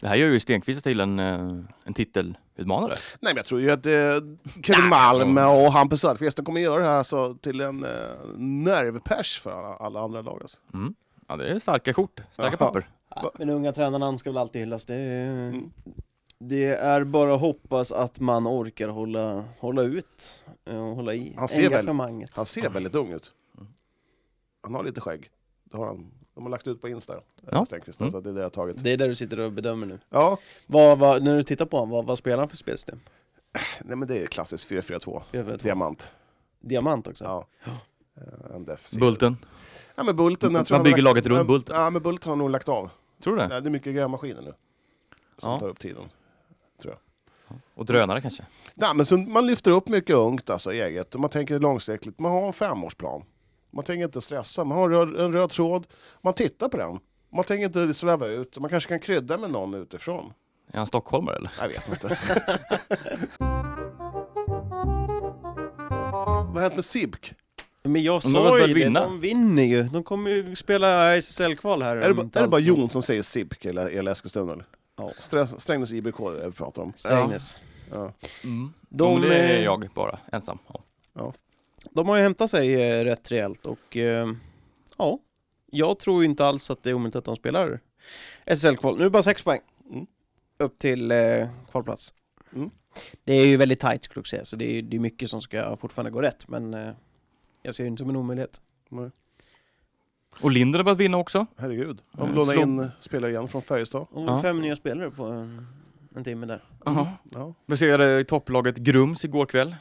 Speaker 2: Det här gör ju Stenqvist till en, eh, en titelutmanare.
Speaker 1: Nej, men jag tror ju att eh, Kevin Malm och Hampus Söderqvist de kommer göra det här alltså, till en eh, nervpers för alla, alla andra lag. Alltså.
Speaker 2: Mm. Ja, det är starka kort, starka
Speaker 1: Ja.
Speaker 2: papper.
Speaker 3: Ja, Men unga tränarnamn ska väl alltid hyllas. Det,
Speaker 1: Mm.
Speaker 3: det är bara att hoppas att man orkar hålla, hålla ut eh, och hålla i
Speaker 1: Han ser väl-
Speaker 3: engagemanget.
Speaker 1: Han ser väldigt ung ut. Han har lite skägg. Det har han. De har lagt ut på Insta, ja.
Speaker 2: Ja.
Speaker 1: Stenqvist.
Speaker 2: Mm.
Speaker 1: Så det är det jag har tagit.
Speaker 3: Det är där du sitter och bedömer nu.
Speaker 1: Ja,
Speaker 3: Vad, vad, när du tittar på honom, vad, vad spelar han för spelsystem?
Speaker 1: Nej men det är klassiskt 4-4-2. Diamant.
Speaker 3: Diamant också?
Speaker 1: Ja. Eh, En defensiv.
Speaker 2: Bulten,
Speaker 1: Ja, men bulten jag
Speaker 2: Man
Speaker 1: tror han
Speaker 2: bygger
Speaker 1: har lagt-
Speaker 2: laget runt
Speaker 1: Ja,
Speaker 2: Bulten.
Speaker 1: Ja, men bulten har nog lagt av.
Speaker 2: tror du det?
Speaker 1: Nej, det är mycket grävmaskiner nu. Som
Speaker 2: Ja.
Speaker 1: tar upp tiden.
Speaker 2: Och drönare kanske?
Speaker 1: Nej, men så man lyfter upp mycket ungt, alltså eget. Man tänker långsiktigt. Man har en femårsplan. Man tänker inte stressa. Man har en röd, en röd tråd. Man tittar på den. Man tänker inte sväva ut. Man kanske kan krydda med någon utifrån.
Speaker 2: Är han stockholmare eller?
Speaker 1: Jag vet
Speaker 2: <laughs>
Speaker 1: inte. Vad har hänt med Sibk?
Speaker 3: Men jag
Speaker 2: de har
Speaker 3: sa
Speaker 2: börjat
Speaker 3: ju det,
Speaker 2: vinna.
Speaker 3: de vinner ju. De kommer ju spela SSL-kval här.
Speaker 1: Är det,
Speaker 3: om
Speaker 1: ba-
Speaker 3: ett
Speaker 1: är det bara
Speaker 3: halvår.
Speaker 1: Jon som säger SIBK eller, eller Eskilstuna? Eller?
Speaker 3: Ja.
Speaker 1: Strä- Strängnäs IBK är det vi pratar om.
Speaker 3: Strängnäs.
Speaker 1: Ja.
Speaker 2: Mm.
Speaker 3: De,
Speaker 2: De, det är
Speaker 3: eh,
Speaker 2: jag bara, ensam. Ja.
Speaker 3: De har ju hämtat sig eh, rätt rejält och eh, ja, jag tror ju inte alls att det är omöjligt att de spelar SSL-kval. Nu är det bara sex poäng
Speaker 1: Mm.
Speaker 3: upp till eh, kvalplats.
Speaker 1: Mm.
Speaker 3: Det är ju väldigt tight skulle jag säga, så det är, det är mycket som ska fortfarande gå rätt, men eh, jag ser det inte som en omöjlighet.
Speaker 1: Nej.
Speaker 2: Och Linder har börjat vinna också.
Speaker 1: Herregud. De
Speaker 2: Eh,
Speaker 1: lånar
Speaker 2: slå-
Speaker 1: in spelare igen från Färjestad.
Speaker 3: Och
Speaker 2: Ja.
Speaker 3: fem nya spelare på en, en timme där.
Speaker 2: Jaha.
Speaker 1: Ja.
Speaker 2: Besegrade topplaget Grums igår kväll.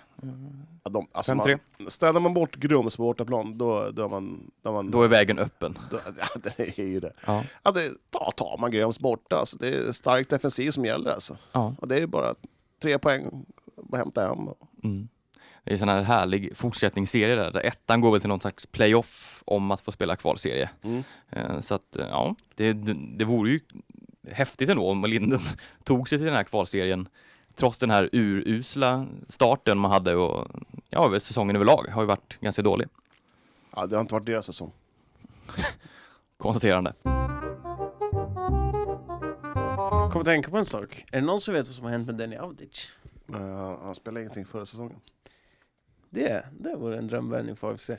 Speaker 1: Ja, de, alltså
Speaker 2: 5-3.
Speaker 1: man, städar man bort Grums på bortaplan, då, då är man... Då är man
Speaker 2: Då är vägen öppen.
Speaker 1: då, <laughs> ja, det är ju det.
Speaker 2: Ja.
Speaker 1: Ja, det ta, tar man Grums borta, alltså, det är stark defensiv som gäller. Alltså.
Speaker 2: Ja.
Speaker 1: Och det är bara tre poäng att hämta hem.
Speaker 2: Mm. Det är en sån här härlig fortsättningsserie där, där ettan går väl till någon slags playoff om att få spela kvalserie.
Speaker 1: Mm.
Speaker 2: Eh, Så att, eh, ja, det, det vore ju häftigt ändå om Linden <laughs> tog sig till den här kvalserien trots den här urusla starten man hade och ja, väl säsongen överlag har ju varit ganska dålig.
Speaker 1: Ja, det har inte varit deras säsong.
Speaker 2: Konstaterande.
Speaker 3: Kom att tänka på en sak, är det någon som vet vad som har hänt med Denny Avdic?
Speaker 1: Eh, han spelade ingenting förra säsongen.
Speaker 3: Det, det vore en drömvändning för AFC.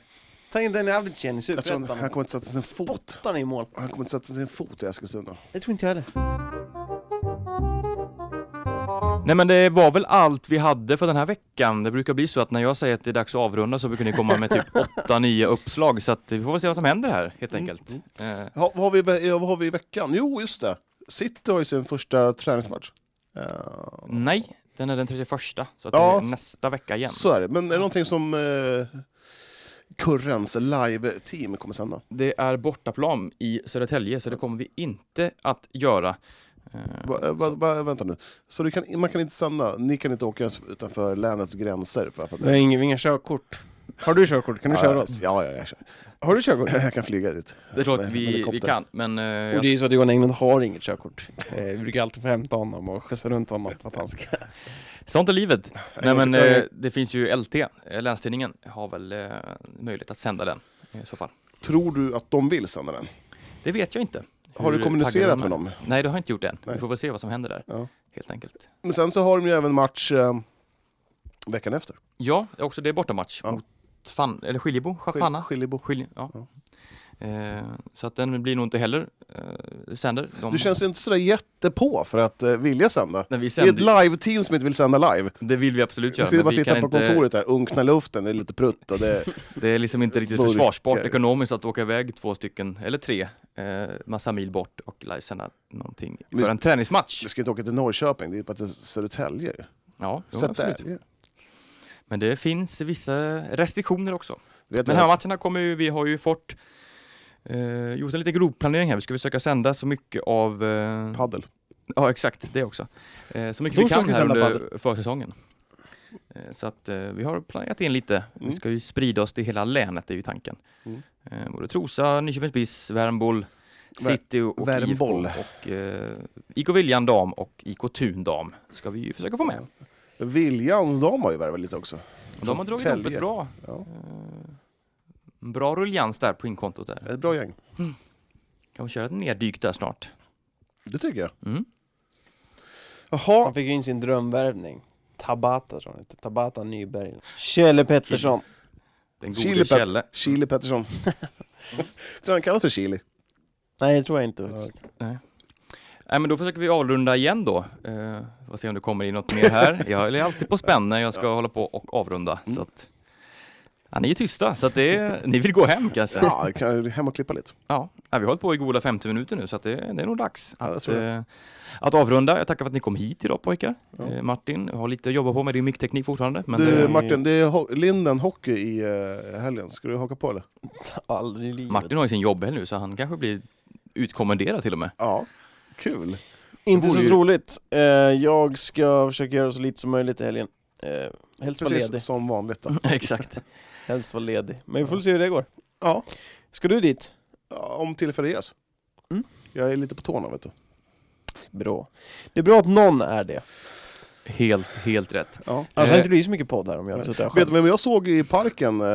Speaker 3: Ta in Denny Avdic igen i
Speaker 1: Jag tror han, han
Speaker 3: Superettan,
Speaker 1: kommer inte sätta sin fot.
Speaker 3: han i mål.
Speaker 1: Han kommer inte sätta sin fot i Eskilstuna.
Speaker 3: Det tror inte jag heller.
Speaker 2: Nej men det var väl allt vi hade för den här veckan. Det brukar bli så att när jag säger att det är dags att avrunda så brukar ni komma med
Speaker 1: <laughs>
Speaker 2: typ 8-9 uppslag så att vi får väl se vad som händer här helt
Speaker 1: Mm.
Speaker 2: enkelt. Eh,
Speaker 1: Ja, vad, har vi, i ve- ja, vad har vi i veckan? Jo, just det. City har ju sin första träningsmatch. Eh,
Speaker 2: Nej, den är den 31. Så att
Speaker 1: Ja.
Speaker 2: det är nästa vecka igen.
Speaker 1: Så är det. Men är det någonting som eh, Kurrens live-team kommer sända?
Speaker 2: Det är bortaplan i Södertälje, så det kommer vi inte att göra. Eh,
Speaker 1: Va, va, va, vänta nu. Så du kan, man kan inte sända, ni kan inte åka utanför länets gränser? För att
Speaker 3: Vi har inga, inga körkort. Har du körkort? Kan du köra oss?
Speaker 1: Ja, ja, jag kör.
Speaker 3: Har du körkort?
Speaker 1: Jag kan flyga dit.
Speaker 2: Det är klart att
Speaker 1: Med
Speaker 2: vi, vi
Speaker 1: helikopter.
Speaker 2: kan, men eh,
Speaker 3: Och
Speaker 2: jag,
Speaker 3: det är ju så att Johan Englund har inget körkort. <laughs> Eh, vi brukar alltid få hämta honom och skjutsa runt honom för att han ska...
Speaker 2: sånt är livet. Nej, men
Speaker 3: jag-
Speaker 2: eh, det finns ju LT, eh, Länstidningen, har väl eh, möjlighet att sända den i så fall.
Speaker 1: Tror du att de vill sända den?
Speaker 2: Det vet jag inte.
Speaker 1: Har
Speaker 2: Hur
Speaker 1: du
Speaker 2: taggade
Speaker 1: kommunicerat
Speaker 2: de
Speaker 1: med
Speaker 2: är.
Speaker 1: dem?
Speaker 2: Nej, det har jag inte gjort än.
Speaker 1: Nej.
Speaker 2: Vi får väl se vad som händer där,
Speaker 1: Ja.
Speaker 2: helt enkelt.
Speaker 1: Men sen så har de ju även match eh, veckan efter.
Speaker 2: Ja, det är också det är bortamatch
Speaker 1: Ja.
Speaker 2: mot fan, eller Skiljebo,
Speaker 1: Skil-
Speaker 2: Schafanna.
Speaker 1: Skiljebo.
Speaker 2: Skilje, ja. Eh, så att den blir nog inte heller eh, sänder. De,
Speaker 1: Du känns ju inte sådär jättepå för att eh, vilja sända.
Speaker 2: när vi
Speaker 1: Det är ett
Speaker 2: sänder,
Speaker 1: live-team som inte vill sända live.
Speaker 2: det vill vi absolut
Speaker 1: Vi
Speaker 2: göra.
Speaker 1: sitter
Speaker 2: men
Speaker 1: bara
Speaker 2: vi
Speaker 1: sitta
Speaker 2: kan
Speaker 1: på
Speaker 2: inte-
Speaker 1: kontoret där, unkna luften, det är lite prutt och det...
Speaker 2: Det är liksom inte riktigt
Speaker 1: Burkar.
Speaker 2: försvarsbart ekonomiskt att åka iväg två stycken, eller tre, eh, massa mil bort och livesända någonting
Speaker 1: Vi-
Speaker 2: för en träningsmatch.
Speaker 1: Vi ska inte åka till Norrköping, det är ju bara till Södertälje.
Speaker 2: Ja, jo,
Speaker 1: Så att eh,
Speaker 2: absolut.
Speaker 1: där-
Speaker 2: Men det finns vissa restriktioner också.
Speaker 1: Vet
Speaker 2: Men
Speaker 1: du-
Speaker 2: hemmamatcherna kommer ju, vi har ju fått eh, gjort en liten grovplanering här. Vi ska försöka sända så mycket av... Eh,
Speaker 1: Paddel.
Speaker 2: ja, exakt, det också. Eh, så mycket vi
Speaker 3: Torsdag
Speaker 2: kan
Speaker 3: ska
Speaker 2: här
Speaker 3: sända
Speaker 2: under försäsongen. Eh, så att eh, vi har planerat in lite. Vi
Speaker 1: Mm.
Speaker 2: ska ju sprida oss till hela länet, det är ju tanken.
Speaker 1: Mm.
Speaker 2: Eh, både Trosa, Nyköpingsbis, Värmboll,
Speaker 1: Vär-
Speaker 2: City och och
Speaker 1: Värmboll.
Speaker 2: IFK. Och, eh, IK Viljan dam och IK Thun dam ska vi ju försöka få med.
Speaker 1: Viljans dam har ju värvat lite också.
Speaker 2: Och de har dragit
Speaker 1: Tälje.
Speaker 2: upp ett bra,
Speaker 1: Ja.
Speaker 2: eh, en bra rullians där på inkontot där.
Speaker 1: Ett bra gäng.
Speaker 2: Kan vi köra ett neddyk där snart?
Speaker 1: Det tycker jag.
Speaker 2: Mm.
Speaker 1: Jaha,
Speaker 3: Han fick ju in sin drömvärvning. Tabata tror jag inte. Tabata Nyberg. Kjelle Pettersson.
Speaker 2: Den
Speaker 1: Chili,
Speaker 2: gode Kjelle.
Speaker 1: Pet- Chili Pettersson. <laughs> Tror han kallas för Chili?
Speaker 3: Nej, det tror jag inte faktiskt.
Speaker 2: Nej, men då försöker vi avrunda igen då. Eh, får se om det kommer in något mer här. <laughs> Jag är alltid på spänn när jag ska hålla på och avrunda.
Speaker 1: Mm.
Speaker 2: Så att, ja, ni är tysta, så att det är, <laughs> ni vill gå hem kanske? Ja.
Speaker 1: Ja, kan jag hem och klippa lite.
Speaker 2: Nej, vi har hållit på i goda 50 minuter nu, så att det, det är nog dags
Speaker 1: jag
Speaker 2: att,
Speaker 1: tror
Speaker 2: eh, att avrunda. Jag tackar för att ni kom hit idag pojkar. Eh, Martin, jag har lite att jobba på med din mickteknik fortfarande. Men
Speaker 1: Du
Speaker 2: eh,
Speaker 1: Martin, det är ho- Linden Hockey i eh, helgen. Ska du haka på eller?
Speaker 3: <laughs> Aldrig i livet.
Speaker 2: Martin har ju sin jobbhelg nu, så han kanske blir utkommenderad till och med.
Speaker 1: Ja, kul.
Speaker 3: Inte
Speaker 1: Det
Speaker 3: så
Speaker 1: vore ju-
Speaker 3: roligt. Eh, jag ska försöka göra så lite som möjligt i helgen. Eh, helst vara ledig.
Speaker 1: Precis som vanligt. Då.
Speaker 2: <laughs> Exakt.
Speaker 3: Helst vara ledig. Men vi får se hur det går.
Speaker 1: Ja,
Speaker 3: Ska du dit?
Speaker 1: ja, om tillfälle ges.
Speaker 3: Mm.
Speaker 1: Jag är lite på tårna vet du.
Speaker 3: Bra. Det är bra att någon är det.
Speaker 2: Helt, helt rätt.
Speaker 1: Ja.
Speaker 3: Annars
Speaker 2: Eh,
Speaker 3: hade inte blivit så mycket podd här om jag hade suttit här
Speaker 1: Vet
Speaker 3: själv.
Speaker 1: du vem jag såg i parken eh,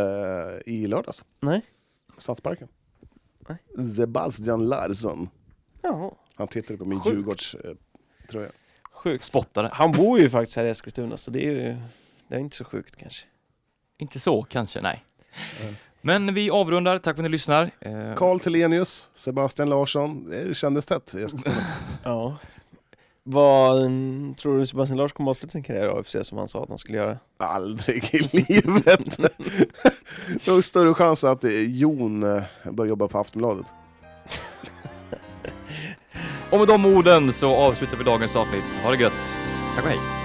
Speaker 1: i lördags?
Speaker 3: Nej.
Speaker 1: Stadsparken.
Speaker 3: Nej.
Speaker 1: Sebastian Larsson.
Speaker 3: Ja.
Speaker 1: Han tittade på min eh,
Speaker 3: Sjukt.
Speaker 1: Djurgårdströja.
Speaker 3: Sjukt.
Speaker 2: Spottare.
Speaker 3: Han bor ju faktiskt här i Eskilstuna så det är ju det är inte så sjukt kanske.
Speaker 2: Inte så kanske, nej. Men vi avrundar, tack för att ni lyssnar. Eh,
Speaker 1: Carl Telenius, Sebastian Larsson. Det kändes tätt. Jag ska-
Speaker 3: Ja. Vad mm, tror du Sebastian Larsson kommer avsluta sin karriär i AFC som han sa att han skulle göra?
Speaker 1: Aldrig i livet. <laughs> Det är större chans att eh, Jon eh, börjar jobba på Aftonbladet.
Speaker 2: Och med de orden så avslutar vi dagens avsnitt. Ha det gött. Tack och hej.